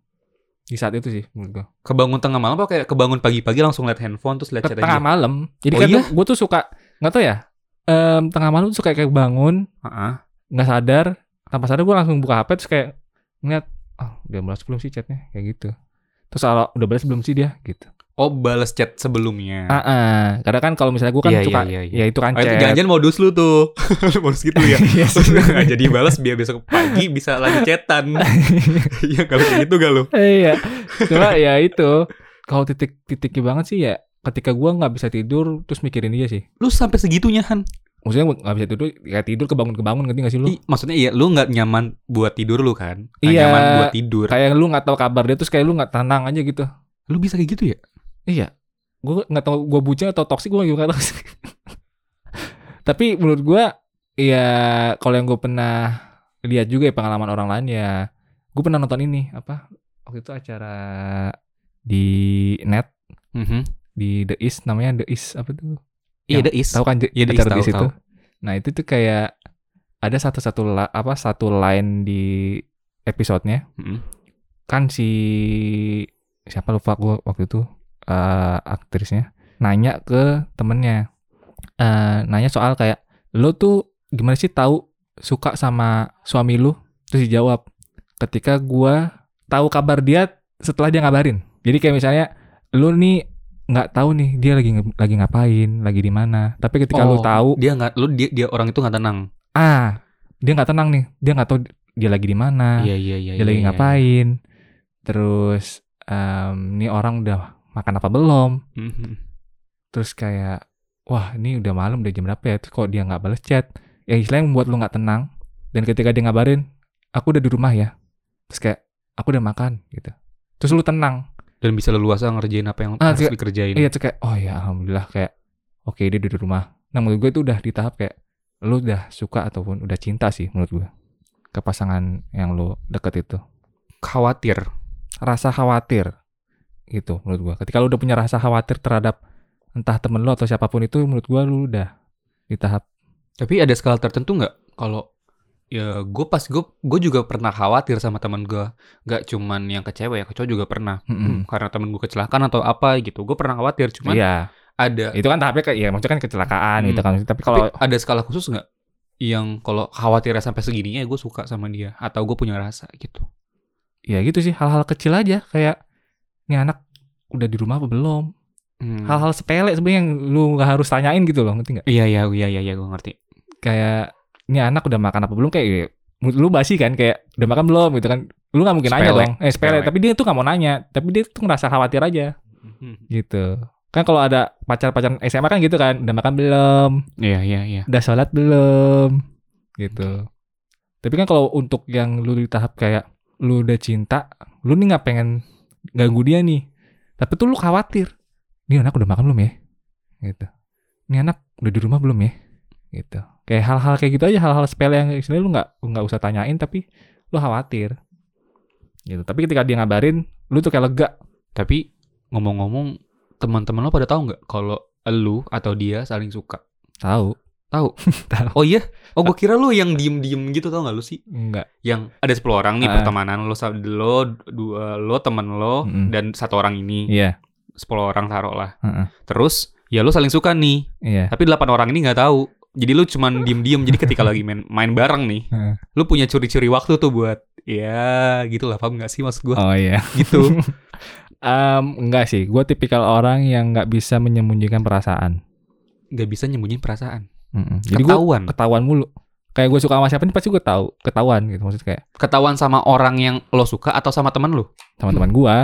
Speaker 2: di saat itu sih menurut gue
Speaker 1: Kebangun tengah malam apa kayak kebangun pagi-pagi langsung lihat handphone terus lihat chat
Speaker 2: tengah
Speaker 1: aja.
Speaker 2: malam jadi
Speaker 1: Oh
Speaker 2: kan
Speaker 1: iya?
Speaker 2: gue tuh suka nggak tau ya em, tengah malam tuh suka kayak bangun
Speaker 1: Heeh.
Speaker 2: nggak sadar tanpa sadar gue langsung buka hp terus kayak ngeliat ah udah balas belum sih chatnya kayak gitu terus kalau udah balas belum sih dia gitu
Speaker 1: Oh, balas chat sebelumnya.
Speaker 2: ah ah. karena kan kalau misalnya gue kan
Speaker 1: Nah. Iya,
Speaker 2: suka
Speaker 1: iya, iya, iya.
Speaker 2: ya itu kan
Speaker 1: Oh, itu
Speaker 2: chat.
Speaker 1: jangan-jangan modus lu tuh. modus gitu ya.
Speaker 2: Iya sih.
Speaker 1: Terus nggak jadi balas biar besok pagi bisa lagi chatan. Iya kalau kayak gitu gak lu?
Speaker 2: Iya. Cuma ya itu. Kalau titik-titiknya banget sih ya ketika gua nggak bisa tidur terus mikirin dia sih.
Speaker 1: Lu sampai segitunya Han.
Speaker 2: Maksudnya gua nggak bisa tidur kayak tidur kebangun-kebangun ngerti gak sih
Speaker 1: Ih,
Speaker 2: lu?
Speaker 1: maksudnya iya lu nggak nyaman buat tidur lu kan? Nggak
Speaker 2: Iya.
Speaker 1: nyaman buat tidur.
Speaker 2: Kayak lu nggak tahu kabar dia terus kayak lu nggak tenang aja gitu.
Speaker 1: Lu bisa kayak gitu ya?
Speaker 2: Iya. Gua nggak tahu gua bucin atau toksik gua juga nggak tahu. sih. Tapi menurut gua ya kalau yang gua pernah lihat juga ya pengalaman orang lain ya gua pernah nonton ini apa waktu itu acara di net
Speaker 1: Mm-hmm.
Speaker 2: di The East namanya The East apa tuh
Speaker 1: Iya,
Speaker 2: Yang
Speaker 1: the is.
Speaker 2: tahu kan je-
Speaker 1: Iya, di
Speaker 2: acara
Speaker 1: tahu,
Speaker 2: di situ.
Speaker 1: tahu.
Speaker 2: Nah itu tuh kayak ada satu satu la- apa satu line di episodenya
Speaker 1: Mm-mm.
Speaker 2: kan si siapa lupa gue waktu itu eh, aktrisnya nanya ke temennya Eh, nanya soal kayak lo tuh gimana sih tahu suka sama suami lu? Terus dijawab, ketika gua tahu kabar dia setelah dia ngabarin. Jadi kayak misalnya lu nih nggak tahu nih dia lagi nge- lagi ngapain, lagi di mana. Tapi ketika lu
Speaker 1: Oh.
Speaker 2: tahu,
Speaker 1: Dia nggak, lu dia, dia orang itu nggak tenang.
Speaker 2: ah, dia nggak tenang nih. Dia nggak tahu dia lagi di mana,
Speaker 1: Iya iya iya.
Speaker 2: dia lagi ngapain. Terus em, nih orang udah makan apa belum?
Speaker 1: Mm-hmm.
Speaker 2: terus kayak wah ini udah malam udah jam berapa ya terus kok dia nggak balas chat ya istilahnya membuat lu nggak tenang dan ketika dia ngabarin aku udah di rumah ya terus kayak aku udah makan gitu terus lu tenang
Speaker 1: Dan bisa leluasa ngerjain apa yang
Speaker 2: Ah,
Speaker 1: harus
Speaker 2: kayak-
Speaker 1: dikerjain.
Speaker 2: iya terus kayak oh ya alhamdulillah kayak oke dia udah di rumah nah menurut gue itu udah di tahap kayak lu udah suka ataupun udah cinta sih menurut gue ke pasangan yang lu deket itu
Speaker 1: Khawatir.
Speaker 2: rasa khawatir gitu menurut gua. Ketika lu udah punya rasa khawatir terhadap entah temen lu atau siapapun itu menurut gua lu udah di tahap
Speaker 1: Tapi ada skala tertentu nggak kalau ya gue pas gue gue juga pernah khawatir sama teman gue nggak cuman yang ke cewek ya ke cowok juga pernah Hmm,
Speaker 2: Mm-mm.
Speaker 1: karena temen gue kecelakaan atau apa gitu gue pernah khawatir cuman
Speaker 2: Iya,
Speaker 1: ada
Speaker 2: itu kan tahapnya kayak ya maksudnya kan kecelakaan
Speaker 1: Hmm.
Speaker 2: gitu kan. Tapi
Speaker 1: tapi
Speaker 2: kalau
Speaker 1: ada skala khusus nggak yang kalau khawatirnya sampai segininya gue suka sama dia atau gue punya rasa gitu
Speaker 2: ya gitu sih hal-hal kecil aja kayak nih anak udah di rumah apa belum?
Speaker 1: Hmm.
Speaker 2: Hal-hal sepele sebenarnya yang lu nggak harus tanyain gitu loh, ngerti nggak?
Speaker 1: iya iya iya iya iya gue ngerti
Speaker 2: Kayak nih anak udah makan apa belum kayak ya, menurut lu basi kan kayak udah makan belum gitu kan. Lu nggak mungkin nanya
Speaker 1: Sepele.
Speaker 2: dong. Eh sepele,
Speaker 1: Sepele.
Speaker 2: tapi dia tuh nggak mau nanya, tapi dia tuh ngerasa khawatir aja. gitu kan kalau ada pacar-pacar SMA kan gitu kan udah makan belum
Speaker 1: iya iya iya
Speaker 2: udah sholat belum gitu tapi kan kalau untuk yang lu di tahap kayak lu udah cinta lu nih nggak pengen ganggu dia nih tapi tuh lu khawatir nih anak udah makan belum ya gitu nih anak udah di rumah belum ya gitu kayak hal-hal kayak gitu aja hal-hal sepele yang sebenarnya lu nggak nggak usah tanyain tapi lu khawatir gitu tapi ketika dia ngabarin lu tuh kayak lega
Speaker 1: tapi ngomong-ngomong teman-teman lo pada tahu nggak kalau lu atau dia saling suka
Speaker 2: tahu
Speaker 1: tahu
Speaker 2: Tahu.
Speaker 1: oh iya oh
Speaker 2: Ah.
Speaker 1: gue kira lu yang diem-diem gitu tau nggak lu sih
Speaker 2: enggak
Speaker 1: yang ada 10 orang nih
Speaker 2: Ah.
Speaker 1: pertemanan lo sa- lo dua lo temen lo
Speaker 2: Mm-mm.
Speaker 1: dan satu orang ini
Speaker 2: iya
Speaker 1: 10 orang taruh lah
Speaker 2: Heeh.
Speaker 1: terus ya lo saling suka nih
Speaker 2: Iya.
Speaker 1: Tapi delapan orang ini nggak tahu. Jadi lu cuman diem-diem. Jadi ketika lagi main main bareng nih,
Speaker 2: Heeh.
Speaker 1: lu punya curi-curi waktu tuh buat ya gitu lah paham nggak sih maksud gua
Speaker 2: Oh iya.
Speaker 1: gitu.
Speaker 2: Em, enggak sih, gue tipikal orang yang nggak bisa menyembunyikan perasaan.
Speaker 1: Nggak bisa nyembunyiin perasaan.
Speaker 2: Mm-mm. Jadi gue
Speaker 1: Ketahuan.
Speaker 2: ketahuan mulu. Kayak gue suka sama siapa nih pasti gue tahu ketahuan gitu maksud kayak
Speaker 1: Ketahuan sama orang yang lo suka atau sama teman lu.
Speaker 2: teman-teman gue.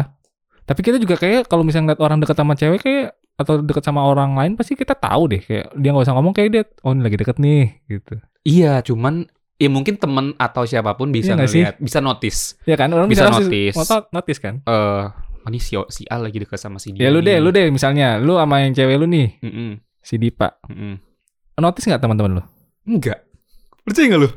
Speaker 2: Tapi kita juga kayak kalau misalnya ngeliat orang deket sama cewek kayak atau deket sama orang lain pasti kita tahu deh kayak dia nggak usah ngomong kayak dia oh ini lagi deket nih gitu.
Speaker 1: Iya, cuman ya mungkin temen atau siapapun bisa
Speaker 2: Iya nggak sih?
Speaker 1: ngeliat, bisa notice.
Speaker 2: Ya kan orang
Speaker 1: Bisa
Speaker 2: bisa
Speaker 1: notice.
Speaker 2: notice kan.
Speaker 1: Eh, oh, ini si, si A lagi dekat sama si dia.
Speaker 2: Ya lu deh,
Speaker 1: nih.
Speaker 2: lu deh misalnya lu sama yang cewek lu nih
Speaker 1: Mm-mm,
Speaker 2: si Dipa.
Speaker 1: mm-mm.
Speaker 2: Notice nggak teman-teman lu?
Speaker 1: Enggak. Percaya nggak lu?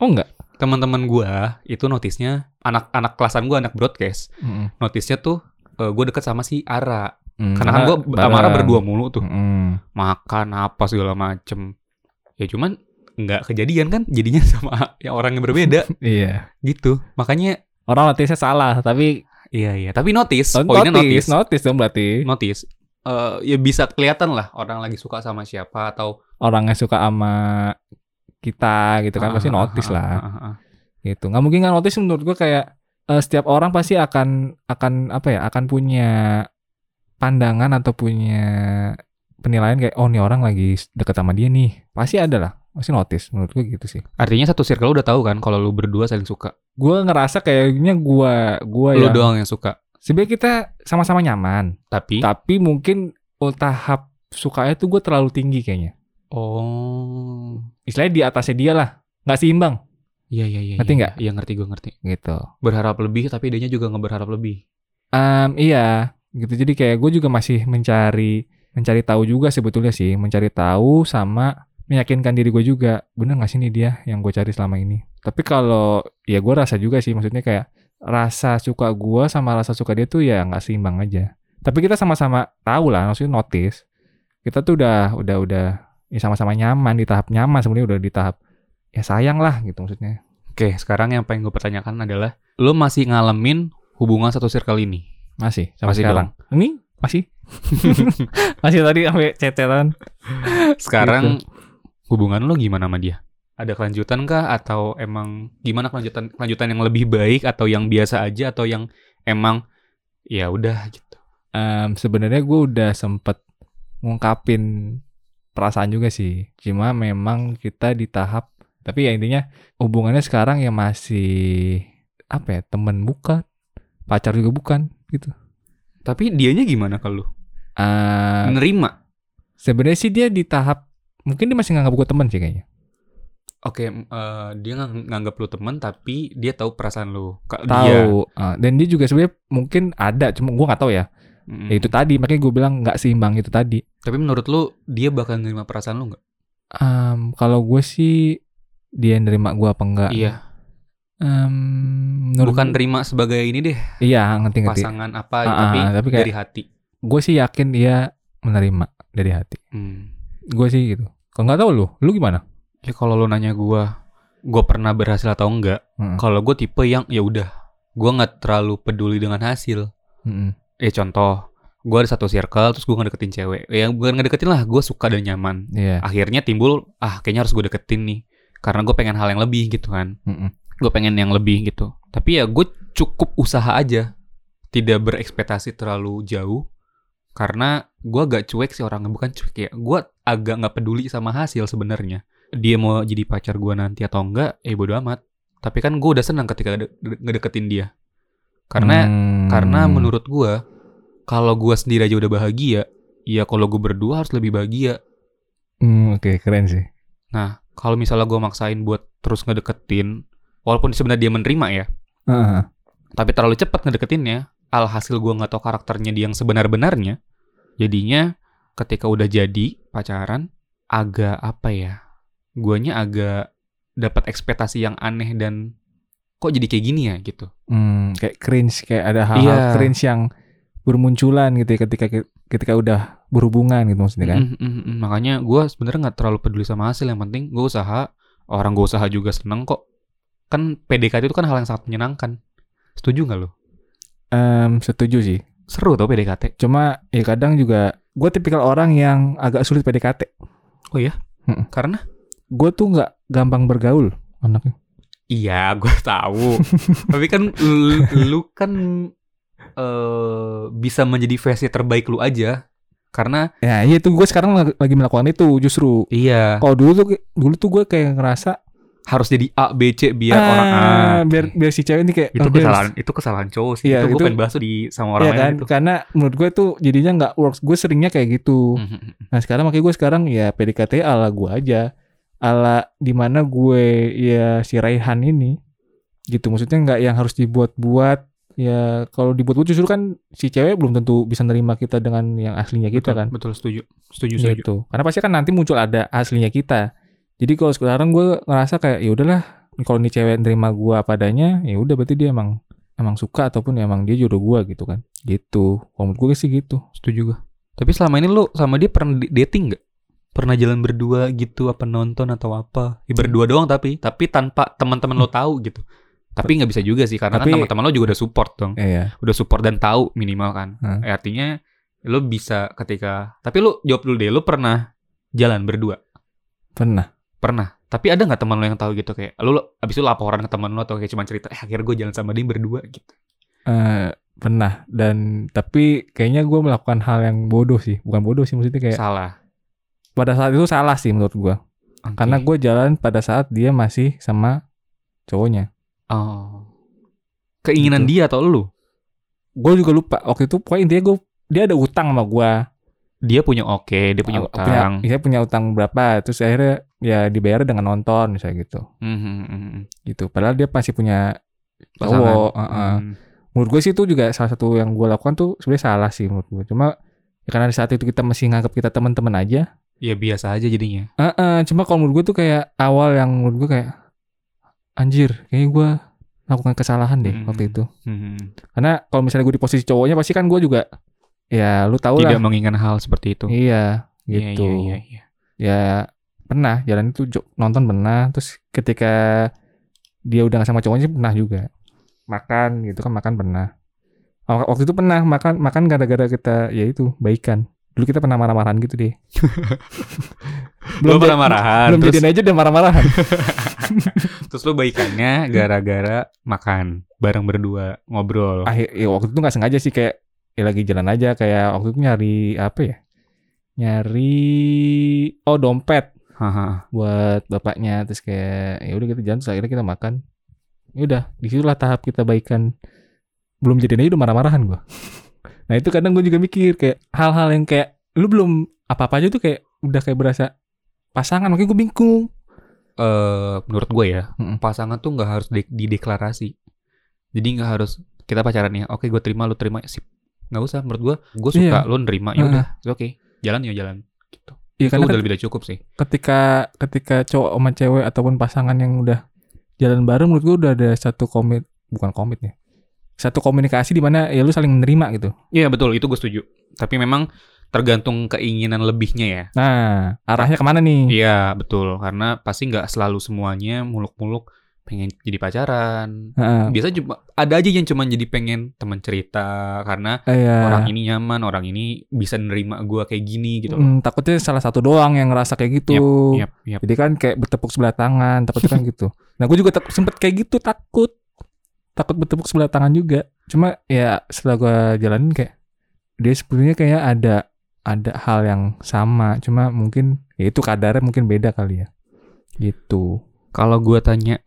Speaker 2: Oh enggak.
Speaker 1: Teman-teman gua itu notice-nya anak-anak kelasan gua anak broadcast.
Speaker 2: Mm-mm.
Speaker 1: notisnya tuh gue deket sama si Ara
Speaker 2: Mm,
Speaker 1: karena kan gue sama Ara
Speaker 2: bareng. Hmm.
Speaker 1: berdua mulu tuh
Speaker 2: Mm-mm.
Speaker 1: makan apa segala macem ya cuman nggak kejadian kan jadinya sama yang orang yang berbeda
Speaker 2: Iya.
Speaker 1: gitu makanya
Speaker 2: Orang notisnya salah, tapi
Speaker 1: iya iya tapi notis
Speaker 2: notis,
Speaker 1: poinnya
Speaker 2: notis,
Speaker 1: notis
Speaker 2: dong berarti.
Speaker 1: notis Eh, ya bisa kelihatan lah orang lagi suka sama siapa atau
Speaker 2: Orang yang suka sama kita gitu kan pasti
Speaker 1: Ah,
Speaker 2: notis
Speaker 1: ah,
Speaker 2: lah
Speaker 1: ah, ah, ah.
Speaker 2: gitu. Nggak mungkin nggak notis menurut gua kayak eh, setiap orang pasti akan akan apa ya? Akan punya pandangan atau punya penilaian kayak oh nih orang lagi deket sama dia nih. Pasti ada lah, pasti notis menurut gua gitu sih.
Speaker 1: artinya satu circle lu udah tahu kan kalau lu berdua saling suka
Speaker 2: Gua ngerasa kayaknya gua gua
Speaker 1: lu Hmm?
Speaker 2: yang-
Speaker 1: doang yang suka
Speaker 2: sebenarnya kita sama-sama nyaman,
Speaker 1: tapi
Speaker 2: tapi mungkin oh, tahap sukanya tuh gua terlalu tinggi kayaknya.
Speaker 1: oh
Speaker 2: istilahnya di atasnya dia lah nggak seimbang
Speaker 1: iya iya iya
Speaker 2: Ngerti
Speaker 1: iya.
Speaker 2: nggak?
Speaker 1: iya ngerti gue ngerti
Speaker 2: gitu
Speaker 1: berharap lebih tapi dianya juga nggak berharap lebih
Speaker 2: iya gitu jadi kayak gue juga masih mencari mencari tahu juga sebetulnya sih mencari tahu sama meyakinkan diri gue juga bener nggak sih ini dia yang gue cari selama ini tapi kalau ya gue rasa juga sih maksudnya kayak rasa suka gue sama rasa suka dia tuh ya nggak seimbang aja tapi kita sama-sama tahu lah maksudnya notice kita tuh udah udah udah ya sama-sama nyaman di tahap nyaman sebenarnya udah di tahap ya sayang lah gitu maksudnya
Speaker 1: Oke, sekarang yang pengen gue pertanyakan adalah, lo masih ngalamin hubungan satu circle ini?
Speaker 2: Masih sampai
Speaker 1: Masih
Speaker 2: sekarang. Ini masih. masih tadi sampai cecetan. Iya,
Speaker 1: Sekarang hubungan lo gimana sama dia? ada kelanjutan kah atau emang gimana kelanjutan kelanjutan yang lebih baik atau yang biasa aja atau yang emang ya udah gitu.
Speaker 2: Em, sebenarnya gue udah sempet ngungkapin perasaan juga sih. Cuma memang kita di tahap tapi ya intinya hubungannya sekarang ya masih apa ya temen bukan pacar juga bukan gitu.
Speaker 1: Tapi dianya gimana kalau
Speaker 2: Eh,
Speaker 1: menerima?
Speaker 2: sebenarnya sih dia di tahap mungkin dia masih nganggap gue temen sih kayaknya.
Speaker 1: Oke, eh, dia ngang- nganggap lu teman tapi dia tahu perasaan lu. Kak, dia.
Speaker 2: Tahu. eh, dan dia juga sebenarnya mungkin ada cuma gue nggak tahu ya.
Speaker 1: Mm.
Speaker 2: Ya itu tadi makanya gue bilang nggak seimbang itu tadi.
Speaker 1: Tapi menurut lu dia bakal nerima perasaan lu nggak?
Speaker 2: Em, kalau gue sih dia nerima gue apa enggak?
Speaker 1: Iya.
Speaker 2: Em, menurut
Speaker 1: Bukan
Speaker 2: gua-
Speaker 1: terima sebagai ini deh
Speaker 2: iya ngerti-ngerti.
Speaker 1: pasangan apa
Speaker 2: Ah,
Speaker 1: tapi,
Speaker 2: ah, tapi kayak-
Speaker 1: dari hati.
Speaker 2: Gue sih yakin dia menerima dari hati.
Speaker 1: Hmm.
Speaker 2: Gue sih gitu. Kalau nggak tahu lu, lu gimana?
Speaker 1: Ya kalau lu nanya gua, gua pernah berhasil atau enggak?
Speaker 2: Mm-mm.
Speaker 1: Kalau gue tipe yang ya udah, gua nggak terlalu peduli dengan hasil.
Speaker 2: Mm-mm.
Speaker 1: Eh contoh, gua ada satu circle terus gua ngedeketin cewek. Ya bukan ngedeketin lah, gua suka dan nyaman.
Speaker 2: Iya.
Speaker 1: Akhirnya timbul ah kayaknya harus gue deketin nih. Karena gue pengen hal yang lebih gitu kan.
Speaker 2: Mm-mm.
Speaker 1: Gue pengen yang lebih gitu. Tapi ya gue cukup usaha aja. Tidak berekspektasi terlalu jauh. Karena gua agak cuek sih orangnya. Bukan cuek ya. gua agak nggak peduli sama hasil sebenarnya. Dia mau jadi pacar gua nanti atau enggak, eh bodo amat. Tapi kan gue udah senang ketika de- de- ngedeketin dia. Karena
Speaker 2: Hmm.
Speaker 1: karena menurut gua kalau gua sendiri aja udah bahagia, ya kalau gue berdua harus lebih bahagia.
Speaker 2: Hmm, oke keren sih.
Speaker 1: Kalau misalnya gua maksain buat terus ngedeketin, walaupun sebenarnya dia menerima ya,
Speaker 2: Heeh.
Speaker 1: tapi terlalu cepat ngedeketinnya, alhasil gua nggak tahu karakternya dia yang sebenar-benarnya. Jadinya ketika udah jadi pacaran, agak apa ya? Guanya agak dapat ekspektasi yang aneh dan kok jadi kayak gini ya gitu.
Speaker 2: Hmm, kayak cringe kayak ada hal-hal
Speaker 1: Iya.
Speaker 2: cringe yang bermunculan gitu ya ketika ketika udah berhubungan gitu maksudnya
Speaker 1: Mm,
Speaker 2: kan.
Speaker 1: mm, mm, mm. Makanya gue sebenarnya nggak terlalu peduli sama hasil. Yang penting gue usaha. Orang gue usaha juga seneng kok. Kan PDKT itu kan hal yang sangat menyenangkan. Setuju nggak lo?
Speaker 2: Em, setuju sih.
Speaker 1: Seru tau PDKT.
Speaker 2: Cuma ya kadang juga gue tipikal orang yang agak sulit PDKT.
Speaker 1: Oh iya?
Speaker 2: Mm-mm.
Speaker 1: Karena?
Speaker 2: Gue tuh nggak gampang bergaul anaknya.
Speaker 1: Iya, gue tahu. Tapi kan lu, lu kan eh, bisa menjadi versi terbaik lu aja. Karena
Speaker 2: Ya iya tuh gue sekarang lagi- lagi melakukan itu justru.
Speaker 1: iya
Speaker 2: Kalau dulu tuh dulu tuh gue kayak ngerasa
Speaker 1: harus jadi A B C biar
Speaker 2: "Ah,
Speaker 1: orang A.
Speaker 2: biar biar si cewek ini kayak
Speaker 1: itu
Speaker 2: "Oh, dia
Speaker 1: kesalahan
Speaker 2: harus-"
Speaker 1: itu kesalahan cowok sih.
Speaker 2: Iya,
Speaker 1: itu gue
Speaker 2: itu-
Speaker 1: pengen bahas tuh di sama orang
Speaker 2: Iya
Speaker 1: lain gitu.
Speaker 2: kan
Speaker 1: itu.
Speaker 2: karena menurut gue tuh jadinya nggak works gue seringnya kayak gitu.
Speaker 1: Mm, mm, mm.
Speaker 2: Nah sekarang makanya gue sekarang ya PDKT ala gue aja ala dimana gue ya si Raihan ini gitu maksudnya nggak yang harus dibuat-buat ya kalau dibuat-buat justru kan si cewek belum tentu bisa nerima kita dengan yang aslinya kita
Speaker 1: betul,
Speaker 2: kan
Speaker 1: betul setuju. Setuju, setuju.
Speaker 2: gitu karena pasti kan nanti muncul ada aslinya kita jadi kalau sekarang gue ngerasa kayak ya udahlah kalau ini cewek nerima gue padanya ya udah berarti dia emang emang suka ataupun emang dia jodoh gue gitu kan gitu kalau menurut gue sih gitu
Speaker 1: Setuju gue. Tapi selama ini lu sama dia pernah di- dating nggak? Pernah jalan berdua gitu apa nonton atau apa? Ya, berdua doang tapi tapi tanpa teman-teman lo tahu gitu. Tapi nggak bisa juga sih karena
Speaker 2: Hmm. Tapi-
Speaker 1: kan teman-teman lo juga udah support dong.
Speaker 2: iya
Speaker 1: Udah support dan tahu minimal kan.
Speaker 2: Hmm.
Speaker 1: Eh, artinya lo bisa ketika tapi lu jawab dulu deh, lu pernah jalan berdua?
Speaker 2: pernah
Speaker 1: Pernah. Tapi ada nggak teman lo yang tahu gitu kayak lu lo- abis itu laporan ke teman lo atau kayak cuma cerita eh akhirnya gue jalan sama dia berdua gitu.
Speaker 2: Eh, pernah dan tapi kayaknya gue melakukan hal yang bodoh sih bukan bodoh sih maksudnya kayak
Speaker 1: Salah.
Speaker 2: pada saat itu salah sih menurut gue
Speaker 1: Oke.
Speaker 2: karena gue jalan pada saat dia masih sama cowoknya
Speaker 1: oh. Keinginan
Speaker 2: Gitu.
Speaker 1: dia atau lu?
Speaker 2: gue juga lupa waktu itu pokoknya intinya gue dia ada utang sama gue
Speaker 1: dia punya oke, dia punya
Speaker 2: Aku
Speaker 1: utang. Hmm,
Speaker 2: saya punya utang berapa terus akhirnya ya dibayar dengan nonton misalnya gitu
Speaker 1: Mhm, mhm.
Speaker 2: gitu padahal dia masih punya
Speaker 1: Pasangan.
Speaker 2: cowok eh, eh.
Speaker 1: Hmm.
Speaker 2: menurut gue sih itu juga salah satu yang gue lakukan tuh sebenarnya salah sih menurut gue cuma ya karena di saat itu kita masih nganggap kita teman-teman aja
Speaker 1: Ya biasa aja jadinya.
Speaker 2: Heeh, cuma kalau menurut gue tuh kayak awal yang menurut gue kayak anjir, kayaknya gue melakukan kesalahan deh
Speaker 1: Hmm.
Speaker 2: waktu itu.
Speaker 1: Mhm.
Speaker 2: Karena kalau misalnya gue di posisi cowoknya pasti kan gue juga ya lu tau
Speaker 1: Tidak
Speaker 2: lah.
Speaker 1: menginginkan hal seperti itu.
Speaker 2: Iya,
Speaker 1: Iya,
Speaker 2: gitu.
Speaker 1: iya, iya, iya.
Speaker 2: Ya pernah jalan itu jo- nonton pernah, terus ketika dia udah gak sama cowoknya sih pernah juga. Makan gitu kan makan pernah. Wak- Waktu itu pernah makan makan gara-gara kita ya itu baikan. Dulu kita pernah marah-marahan gitu deh.
Speaker 1: Belum
Speaker 2: belum
Speaker 1: pernah
Speaker 2: ja-
Speaker 1: marahan.
Speaker 2: belum
Speaker 1: terus,
Speaker 2: jadian aja udah marah-marahan
Speaker 1: terus lu baikannya gara-gara makan bareng berdua ngobrol.
Speaker 2: akhir ya, waktu itu nggak sengaja sih kayak ya lagi jalan aja kayak waktu itu nyari apa ya nyari oh dompet
Speaker 1: Haha.
Speaker 2: buat bapaknya terus kayak ya udah kita jalan terus akhirnya kita makan ya udah disitulah tahap kita baikan belum jadi aja udah marah-marahan gua nah itu kadang gue juga mikir kayak hal-hal yang kayak lu belum apa-apa aja tuh kayak udah kayak berasa pasangan makanya gue bingung
Speaker 1: Eh, menurut gue ya,
Speaker 2: Mm-mm.
Speaker 1: pasangan tuh nggak harus di- dideklarasi. Jadi nggak harus kita pacaran nih. Oke, gue terima, lu terima. Sip. Nggak usah. Menurut gue, gue suka,
Speaker 2: Iya.
Speaker 1: lu nerima. Ya udah, it's oke. Jalan ya jalan.
Speaker 2: Iya
Speaker 1: Itu
Speaker 2: karena
Speaker 1: udah
Speaker 2: kan
Speaker 1: lebih dari cukup sih.
Speaker 2: ketika ketika cowok sama cewek ataupun pasangan yang udah jalan bareng menurut gue udah ada satu komit bukan komit ya satu komunikasi di mana ya lu saling menerima gitu
Speaker 1: Iya betul, itu gue setuju. Tapi memang tergantung keinginan lebihnya ya.
Speaker 2: nah arahnya kemana nih
Speaker 1: Iya betul, karena pasti nggak selalu semuanya muluk-muluk pengen jadi pacaran.
Speaker 2: Heeh.
Speaker 1: Biasa cuma ada aja yang cuma jadi pengen teman cerita karena
Speaker 2: Iya.
Speaker 1: orang ini nyaman, orang ini bisa nerima gua kayak gini gitu loh.
Speaker 2: Hmm, takutnya salah satu doang yang ngerasa kayak gitu.
Speaker 1: Yap, yap.
Speaker 2: Jadi kan kayak bertepuk sebelah tangan, takutnya kan gitu. Nah, gue juga tak- sempet kayak gitu, takut. Takut bertepuk sebelah tangan juga. Cuma ya setelah gue jalanin kayak dia sebenarnya kayak ada ada hal yang sama, cuma mungkin ya itu kadarnya mungkin beda kali ya. Gitu.
Speaker 1: Kalau gua tanya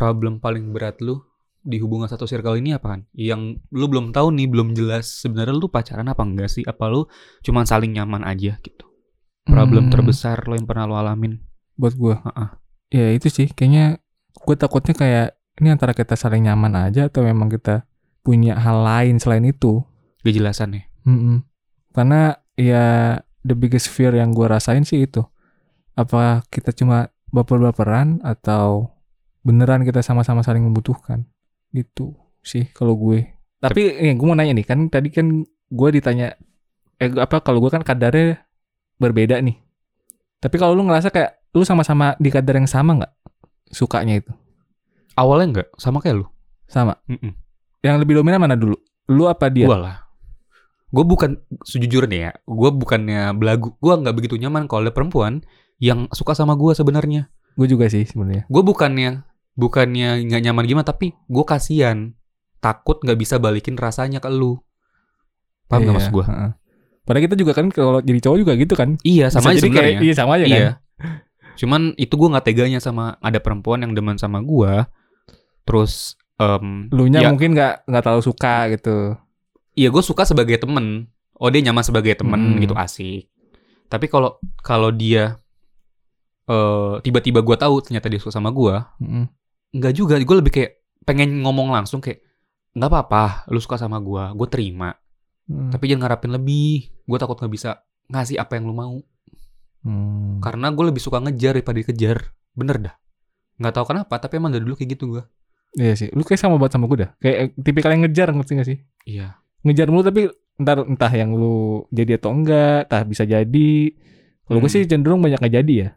Speaker 1: problem paling berat lu di hubungan satu circle ini apaan? Yang lu belum tahu nih, belum jelas sebenarnya lu pacaran apa enggak sih? Apa lu cuman saling nyaman aja gitu? Problem
Speaker 2: Hmm,
Speaker 1: terbesar lo yang pernah lu alamin?
Speaker 2: buat gue.
Speaker 1: Heeh.
Speaker 2: Ya itu sih, kayaknya gue takutnya kayak ini antara kita saling nyaman aja atau memang kita punya hal lain selain itu.
Speaker 1: Kejelasan ya.
Speaker 2: Mm-mm. Karena ya the biggest fear yang gue rasain sih itu. Apa kita cuma baper-baperan atau beneran kita sama-sama saling membutuhkan. Gitu sih kalau gue. Tapi ini gue mau nanya nih, kan tadi kan gue ditanya eh gua- apa kalau gue kan kadarnya berbeda nih. Tapi kalau lu ngerasa kayak lu sama-sama di kadar yang sama nggak sukanya itu?
Speaker 1: Awalnya enggak, sama kayak lu.
Speaker 2: Sama.
Speaker 1: Mm-mm.
Speaker 2: Yang lebih dominan mana dulu? Lu apa dia?
Speaker 1: Gua lah. Gue bukan sejujurnya ya, gue bukannya belagu. Gue nggak begitu nyaman kalau ada perempuan yang suka sama gue sebenarnya.
Speaker 2: Gue juga sih sebenarnya.
Speaker 1: Gue bukannya bukannya nggak nyaman gimana, tapi gue kasihan. Takut nggak bisa balikin rasanya ke lu. Paham nggak
Speaker 2: Iya,
Speaker 1: maksud gue?
Speaker 2: heeh. Padahal kita juga kan kalau jadi cowok juga gitu kan.
Speaker 1: Iya, sama
Speaker 2: Bisa
Speaker 1: aja
Speaker 2: jadi kayak-
Speaker 1: sebenarnya.
Speaker 2: Iya sama aja kan.
Speaker 1: Iya. Cuman itu gue nggak teganya sama ada perempuan yang demen sama gue. Terus em,
Speaker 2: Lu nya
Speaker 1: Ya.
Speaker 2: mungkin nggak nggak terlalu suka gitu.
Speaker 1: Iya gue suka sebagai temen. Oh dia nyaman sebagai temen
Speaker 2: Hmm.
Speaker 1: gitu asik. Tapi kalau kalau dia eh, tiba-tiba gua tahu ternyata dia suka sama gua,
Speaker 2: Mm-mm.
Speaker 1: nggak juga. Gue lebih kayak pengen ngomong langsung kayak nggak apa-apa, lu suka sama gua, gue terima.
Speaker 2: Mm.
Speaker 1: Tapi jangan ngarapin lebih. Gue takut nggak bisa ngasih apa yang lu mau.
Speaker 2: Mm.
Speaker 1: Karena gue lebih suka ngejar daripada dikejar. Bener dah. Nggak tahu kenapa, tapi emang dari dulu kayak gitu gua.
Speaker 2: Iya sih. Lu kayak sama banget sama gue dah. Kayak eh, tipikal yang ngejar ngerti gak sih?
Speaker 1: Iya.
Speaker 2: Ngejar mulu tapi ntar entah yang lu jadi atau enggak, entah bisa jadi. Kalau gue
Speaker 1: Hmm.
Speaker 2: sih cenderung banyak nggak jadi ya.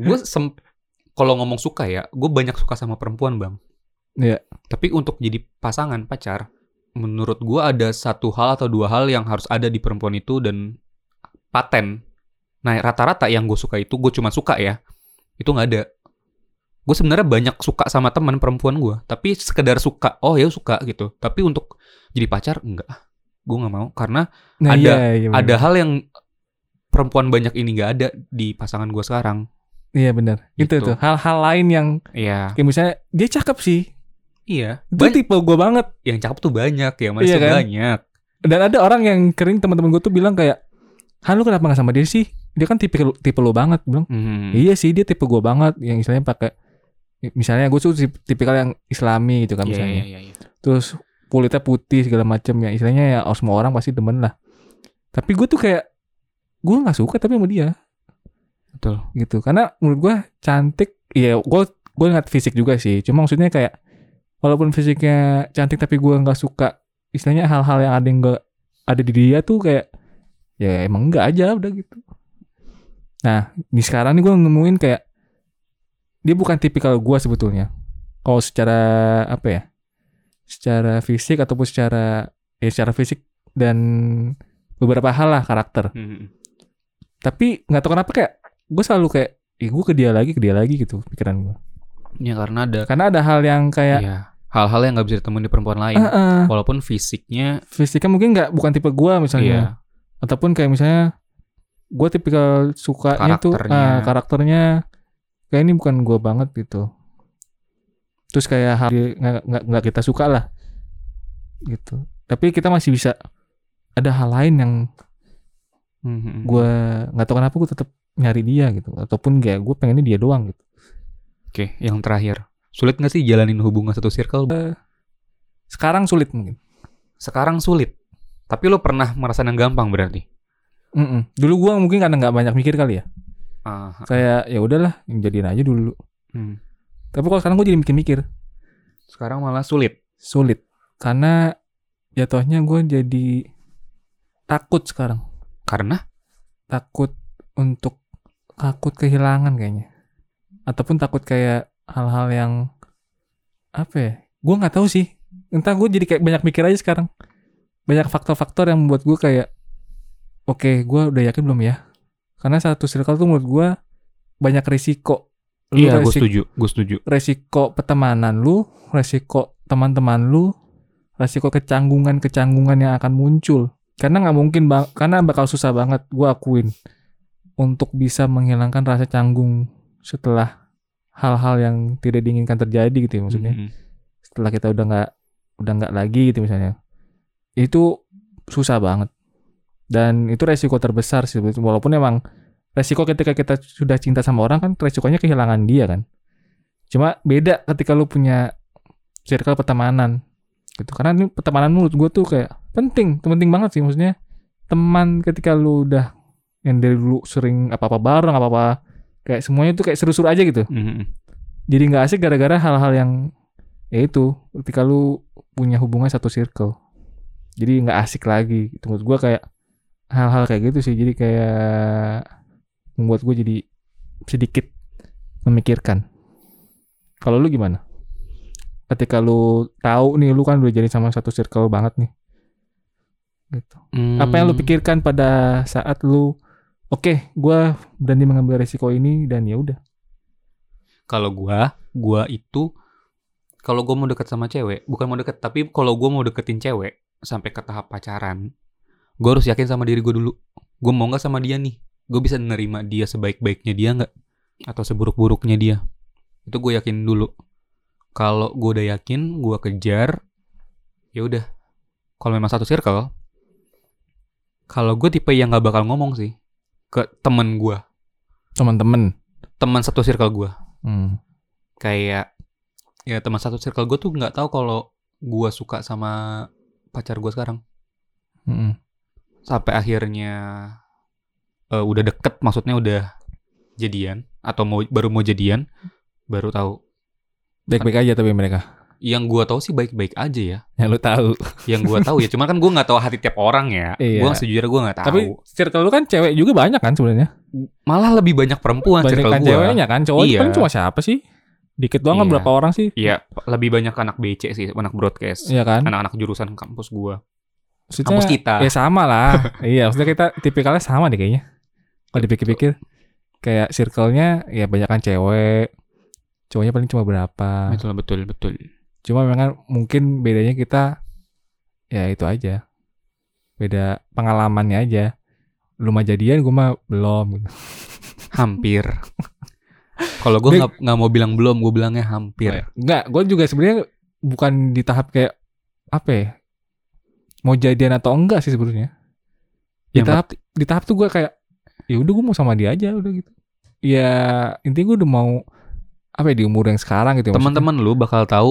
Speaker 1: gue sem kalau ngomong suka ya gue banyak suka sama perempuan bang
Speaker 2: Iya.
Speaker 1: tapi untuk jadi pasangan pacar menurut gue ada satu hal atau dua hal yang harus ada di perempuan itu dan paten nah rata-rata yang gue suka itu gue cuma suka ya itu nggak ada gue sebenarnya banyak suka sama teman perempuan gue tapi sekedar suka oh ya suka gitu tapi untuk jadi pacar enggak gue nggak mau karena
Speaker 2: Nah,
Speaker 1: Ada-
Speaker 2: iya, iya, bener.
Speaker 1: ada hal yang perempuan banyak ini nggak ada di pasangan gue sekarang
Speaker 2: Iya benar. Itu
Speaker 1: Gitu.
Speaker 2: tuh hal-hal lain yang
Speaker 1: iya
Speaker 2: kayak misalnya dia cakep sih.
Speaker 1: iya
Speaker 2: Itu tipe gue banget.
Speaker 1: yang cakep tuh banyak, yang manis
Speaker 2: Iya
Speaker 1: tuh
Speaker 2: kan?
Speaker 1: banyak.
Speaker 2: dan ada orang yang kering teman-teman gue tuh bilang kayak Han lu kenapa gak sama dia sih dia kan tipe tipe lo banget Gua bilang
Speaker 1: Hmm.
Speaker 2: iya sih dia tipe gue banget yang istilahnya pakai misalnya gue tuh tip- tipikal yang islami gitu kan
Speaker 1: Iya,
Speaker 2: misalnya
Speaker 1: iya, iya, iya.
Speaker 2: terus kulitnya putih segala macem ya istilahnya ya oh, semua orang pasti demen lah tapi gue tuh kayak gue nggak suka tapi sama dia
Speaker 1: Betul.
Speaker 2: gitu karena menurut gue cantik ya gue gue ngeliat fisik juga sih cuma maksudnya kayak walaupun fisiknya cantik tapi gue nggak suka istilahnya hal-hal yang ada yang gak ada di dia tuh kayak ya emang nggak aja udah gitu nah di sekarang nih gue nemuin kayak dia bukan tipikal gue sebetulnya kalau secara apa ya secara fisik ataupun secara ya secara fisik dan beberapa hal lah karakter
Speaker 1: Hmm.
Speaker 2: Tapi nggak tahu kenapa kayak gue selalu kayak Ih, gue ke dia lagi, ke dia lagi gitu pikiran gue.
Speaker 1: Ya karena ada
Speaker 2: Karena ada hal yang kayak
Speaker 1: ya, hal-hal yang nggak bisa ditemuin di perempuan lain.
Speaker 2: "Eh, eh,
Speaker 1: Walaupun fisiknya
Speaker 2: fisiknya mungkin nggak bukan tipe gue misalnya.
Speaker 1: iya,
Speaker 2: ataupun kayak misalnya gue tipikal sukanya tuh
Speaker 1: Karakternya.
Speaker 2: ah, karakternya kayak ini bukan gue banget gitu terus kayak hal di- nggak nggak- nggak kita suka lah gitu tapi kita masih bisa ada hal lain yang
Speaker 1: Mhm.
Speaker 2: gue nggak tahu kenapa gue tetap nyari dia gitu ataupun kayak gue pengennya dia doang gitu
Speaker 1: Oke, yang terakhir. Sulit nggak sih jalanin hubungan satu circle?
Speaker 2: Eh. sekarang sulit mungkin
Speaker 1: Sekarang sulit. Tapi lo pernah merasa yang gampang berarti?
Speaker 2: Mm-mm. dulu gue mungkin karena nggak banyak mikir kali ya
Speaker 1: Ah,
Speaker 2: kayak ya udahlah jadiin aja dulu
Speaker 1: hmm.
Speaker 2: tapi kalau sekarang gue jadi mikir-mikir
Speaker 1: Sekarang malah sulit.
Speaker 2: sulit karena jatuhnya gue jadi takut sekarang
Speaker 1: Karena?
Speaker 2: takut untuk takut kehilangan kayaknya ataupun takut kayak hal-hal yang apa ya gue nggak tahu sih entah gue jadi kayak banyak mikir aja sekarang banyak faktor-faktor yang membuat gue kayak oke gue udah yakin belum ya karena satu circle tuh menurut gue banyak risiko Lu
Speaker 1: iya, gue
Speaker 2: risiko-
Speaker 1: setuju. Gue setuju.
Speaker 2: resiko pertemanan lu, resiko teman-teman lu, resiko kecanggungan-kecanggungan yang akan muncul. Karena nggak mungkin bang, karena bakal susah banget gue akuin untuk bisa menghilangkan rasa canggung setelah hal-hal yang tidak diinginkan terjadi gitu ya maksudnya.
Speaker 1: Mhm.
Speaker 2: Setelah kita udah nggak udah nggak lagi gitu misalnya, itu susah banget. Dan itu resiko terbesar sih walaupun emang resiko ketika kita sudah cinta sama orang kan resikonya kehilangan dia kan. Cuma beda ketika lu punya circle pertemanan gitu. Karena ini pertemanan menurut gue tuh kayak penting, penting banget sih maksudnya. Teman ketika lu udah yang dari dulu sering apa-apa bareng, apa-apa kayak semuanya tuh kayak seru-seru aja gitu.
Speaker 1: Mhm.
Speaker 2: Jadi nggak asik gara-gara hal-hal yang ya itu ketika lu punya hubungan satu circle. Jadi nggak asik lagi. Gitu. Menurut gue kayak hal-hal kayak gitu sih. Jadi kayak membuat gue jadi sedikit memikirkan. Kalau lu gimana? Ketika lu tahu nih lu kan udah jadi sama satu circle banget nih. Gitu. Apa yang lu
Speaker 1: Hmm.
Speaker 2: pikirkan pada saat lu oke, gua berani mengambil resiko ini dan ya udah.
Speaker 1: Kalau gua, gua itu kalau gua mau deket sama cewek, bukan mau deket, tapi kalau gua mau deketin cewek sampai ke tahap pacaran, gua harus yakin sama diri gua dulu. Gua mau nggak sama dia nih? Gua bisa nerima dia sebaik-baiknya dia nggak? Atau seburuk-buruknya dia? Itu gue yakin dulu. Kalau gua udah yakin, gua kejar. Ya udah. Kalau memang satu circle, kalau gue tipe yang nggak bakal ngomong sih ke temen gua,
Speaker 2: Teman-teman.
Speaker 1: teman satu circle gua.
Speaker 2: Hmm.
Speaker 1: kayak ya teman satu circle gue tuh nggak tahu kalau gue suka sama pacar gue sekarang
Speaker 2: Mm-mm.
Speaker 1: sampai akhirnya eh, udah deket maksudnya udah jadian atau mau baru mau jadian baru tahu
Speaker 2: Baik-baik aja tapi mereka.
Speaker 1: yang gue tahu sih baik-baik aja ya
Speaker 2: Ya lu tahu.
Speaker 1: yang gue tahu ya cuman kan gue nggak tahu hati tiap orang ya
Speaker 2: Iya.
Speaker 1: gue sejujurnya gue nggak tahu
Speaker 2: Tapi circle lu kan cewek juga banyak kan sebenarnya?
Speaker 1: malah lebih banyak perempuan
Speaker 2: Banyak
Speaker 1: circle
Speaker 2: kan
Speaker 1: gue
Speaker 2: ceweknya kan. Cowok
Speaker 1: Iya.
Speaker 2: kan cuma siapa sih? Dikit doang kan
Speaker 1: Iya.
Speaker 2: berapa orang sih?
Speaker 1: Iya, lebih banyak anak BC sih, anak broadcast,
Speaker 2: Iya kan?
Speaker 1: anak-anak jurusan kampus gua,
Speaker 2: Maksudnya-
Speaker 1: kampus kita.
Speaker 2: Ya sama lah. iya, maksudnya kita tipikalnya sama deh kayaknya. Kalau dipikir-pikir kayak circle-nya ya banyak kan cewek. Cowoknya paling cuma berapa.
Speaker 1: Betul, betul, betul.
Speaker 2: Cuma memang mungkin bedanya kita ya itu aja. Beda pengalamannya aja. Lu mah jadian, gue mah belum. gitu.
Speaker 1: hampir kalau gue nggak nggak mau bilang belum gue bilangnya hampir
Speaker 2: Enggak, gue juga sebenarnya bukan di tahap kayak apa ya? Mau jadian atau enggak sih sebenarnya. Di
Speaker 1: Yang
Speaker 2: tahap di tahap tuh gue kayak ya udah gue mau sama dia aja udah gitu. Ya intinya gue udah mau apa ya di umur yang sekarang gitu ya,
Speaker 1: teman-teman lu bakal tahu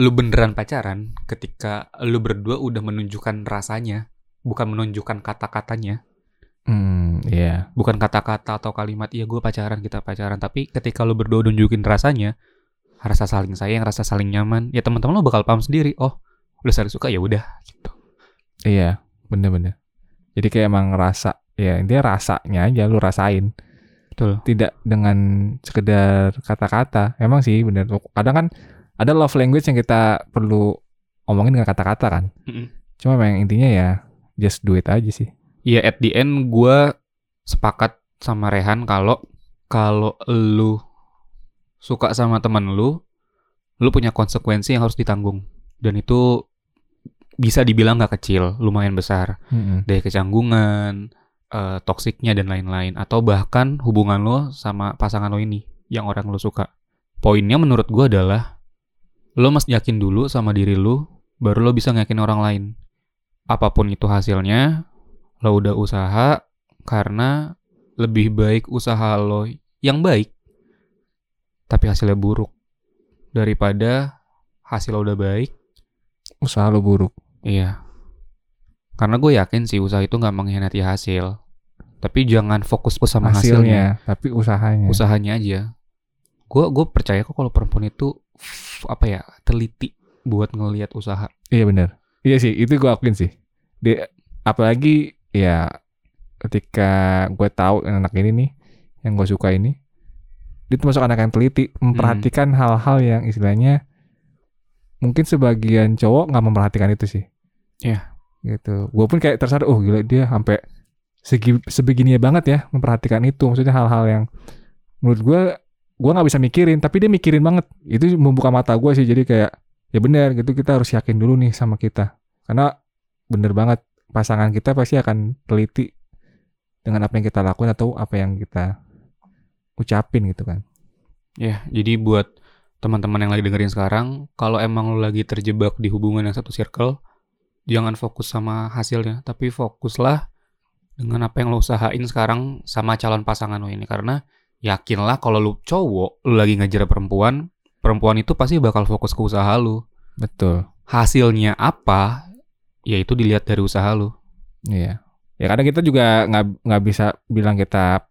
Speaker 1: lu beneran pacaran ketika lu berdua udah menunjukkan rasanya bukan menunjukkan kata-katanya
Speaker 2: maksudnya. Hmm, iya.
Speaker 1: bukan kata-kata atau kalimat iya gue pacaran kita pacaran tapi ketika lu berdua udah nunjukin rasanya rasa saling sayang rasa saling nyaman ya teman-teman lu bakal paham sendiri oh udah saling suka ya udah gitu
Speaker 2: Iya, bener-bener. Jadi kayak emang rasa ya intinya rasanya aja lu rasain.
Speaker 1: Betul.
Speaker 2: Tidak dengan sekedar kata-kata. Emang sih bener. Kadang kan ada love language yang kita perlu omongin dengan kata-kata kan.
Speaker 1: Mm-mm.
Speaker 2: Cuma memang intinya ya just do it aja sih.
Speaker 1: ya at the end gue sepakat sama Rehan kalau kalau lu suka sama temen lu, lu punya konsekuensi yang harus ditanggung dan itu bisa dibilang nggak kecil, lumayan besar
Speaker 2: Mm-mm.
Speaker 1: dari kecanggungan, eh, toksiknya dan lain-lain atau bahkan hubungan lo sama pasangan lo ini yang orang lo suka. Poinnya menurut gua adalah lo mesti yakin dulu sama diri lo, baru lo bisa nyakin orang lain. Apapun itu hasilnya, lo udah usaha karena lebih baik usaha lo yang baik tapi hasilnya buruk daripada hasil lo udah baik
Speaker 2: Usaha lo buruk.
Speaker 1: Iya. Karena gue yakin sih usaha itu nggak mengkhianati hasil. Tapi jangan fokus sama hasilnya,
Speaker 2: Hasilnya, tapi usahanya.
Speaker 1: usahanya aja. Gue gue percaya kok kalau perempuan itu f- apa ya teliti buat ngelihat usaha.
Speaker 2: Iya benar. Iya sih, itu gue akuin sih. Di, apalagi ya ketika gue tahu anak ini nih, yang gue suka ini, dia termasuk anak yang teliti, memperhatikan hal-hal yang istilahnya mungkin sebagian cowok nggak memperhatikan itu sih.
Speaker 1: Iya.
Speaker 2: Gitu. Gue pun kayak tersadar, oh gila dia sampai segi sebegininya banget ya memperhatikan itu. Maksudnya hal-hal yang menurut gue gue nggak bisa mikirin, tapi dia mikirin banget. Itu membuka mata gue sih, jadi kayak ya benar gitu kita harus yakin dulu nih sama kita karena bener banget pasangan kita pasti akan teliti dengan apa yang kita lakuin atau apa yang kita ucapin gitu kan
Speaker 1: Ya, jadi buat teman-teman yang lagi dengerin sekarang, kalau emang lo lagi terjebak di hubungan yang satu circle, jangan fokus sama hasilnya, tapi fokuslah dengan apa yang lo usahain sekarang sama calon pasangan lo ini karena yakinlah kalau lo cowok, lo lagi ngejar perempuan, perempuan itu pasti bakal fokus ke usaha lo.
Speaker 2: betul
Speaker 1: Hasilnya apa? Yaitu dilihat dari usaha lo.
Speaker 2: iya ya karena kita juga nggak nggak bisa bilang kita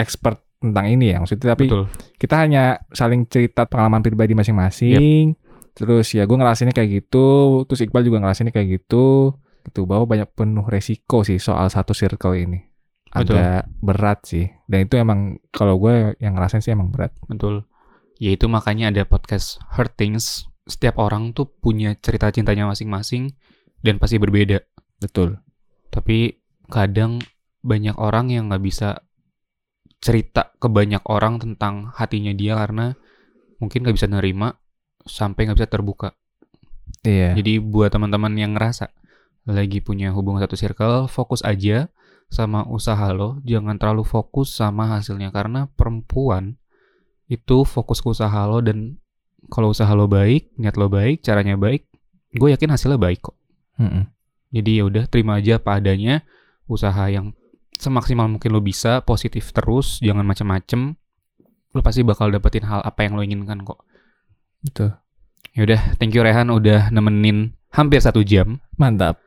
Speaker 2: expert tentang ini ya maksudnya tapi
Speaker 1: Betul.
Speaker 2: kita hanya saling cerita pengalaman pribadi masing-masing. Terus ya gue ngerasainnya kayak gitu, terus Iqbal juga ngerasainnya kayak gitu. Gitu bahwa banyak penuh resiko sih soal satu circle ini.
Speaker 1: Betul.
Speaker 2: Agak berat sih. Dan itu emang kalau gue yang ngerasain sih emang berat.
Speaker 1: Betul. Yaitu makanya ada podcast Hurtings. Setiap orang tuh punya cerita cintanya masing-masing dan pasti berbeda.
Speaker 2: Betul.
Speaker 1: tapi kadang banyak orang yang nggak bisa cerita ke banyak orang tentang hatinya dia karena mungkin nggak bisa nerima sampai nggak bisa terbuka.
Speaker 2: Iya.
Speaker 1: Jadi buat teman-teman yang ngerasa lagi punya hubungan satu circle, fokus aja sama usaha lo, jangan terlalu fokus sama hasilnya karena perempuan itu fokus ke usaha lo dan kalau usaha lo baik, niat lo baik, caranya baik, gue yakin hasilnya baik kok.
Speaker 2: Mm-mm.
Speaker 1: Jadi ya udah terima aja apa adanya usaha yang semaksimal mungkin lo bisa, positif terus, jangan macem-macem. Lo pasti bakal dapetin hal apa yang lo inginkan kok.
Speaker 2: Betul.
Speaker 1: Ya udah, thank you Rehan udah nemenin hampir satu jam,
Speaker 2: Mantap.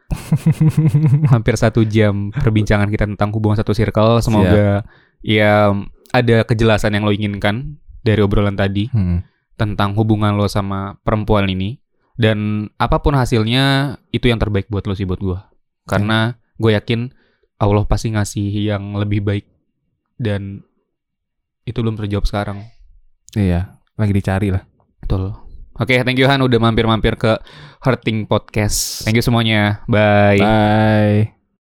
Speaker 1: hampir satu jam perbincangan kita tentang hubungan satu circle. Semoga ya ada kejelasan yang lo inginkan dari obrolan tadi
Speaker 2: Mm.
Speaker 1: tentang hubungan lo sama perempuan ini dan apapun hasilnya itu yang terbaik buat lo sih buat gue karena gue yakin Allah pasti ngasih yang lebih baik dan itu belum terjawab sekarang
Speaker 2: Iya, lagi dicari lah.
Speaker 1: betul oke thank you Han udah mampir-mampir ke Hurting Podcast thank you semuanya bye
Speaker 2: Bye.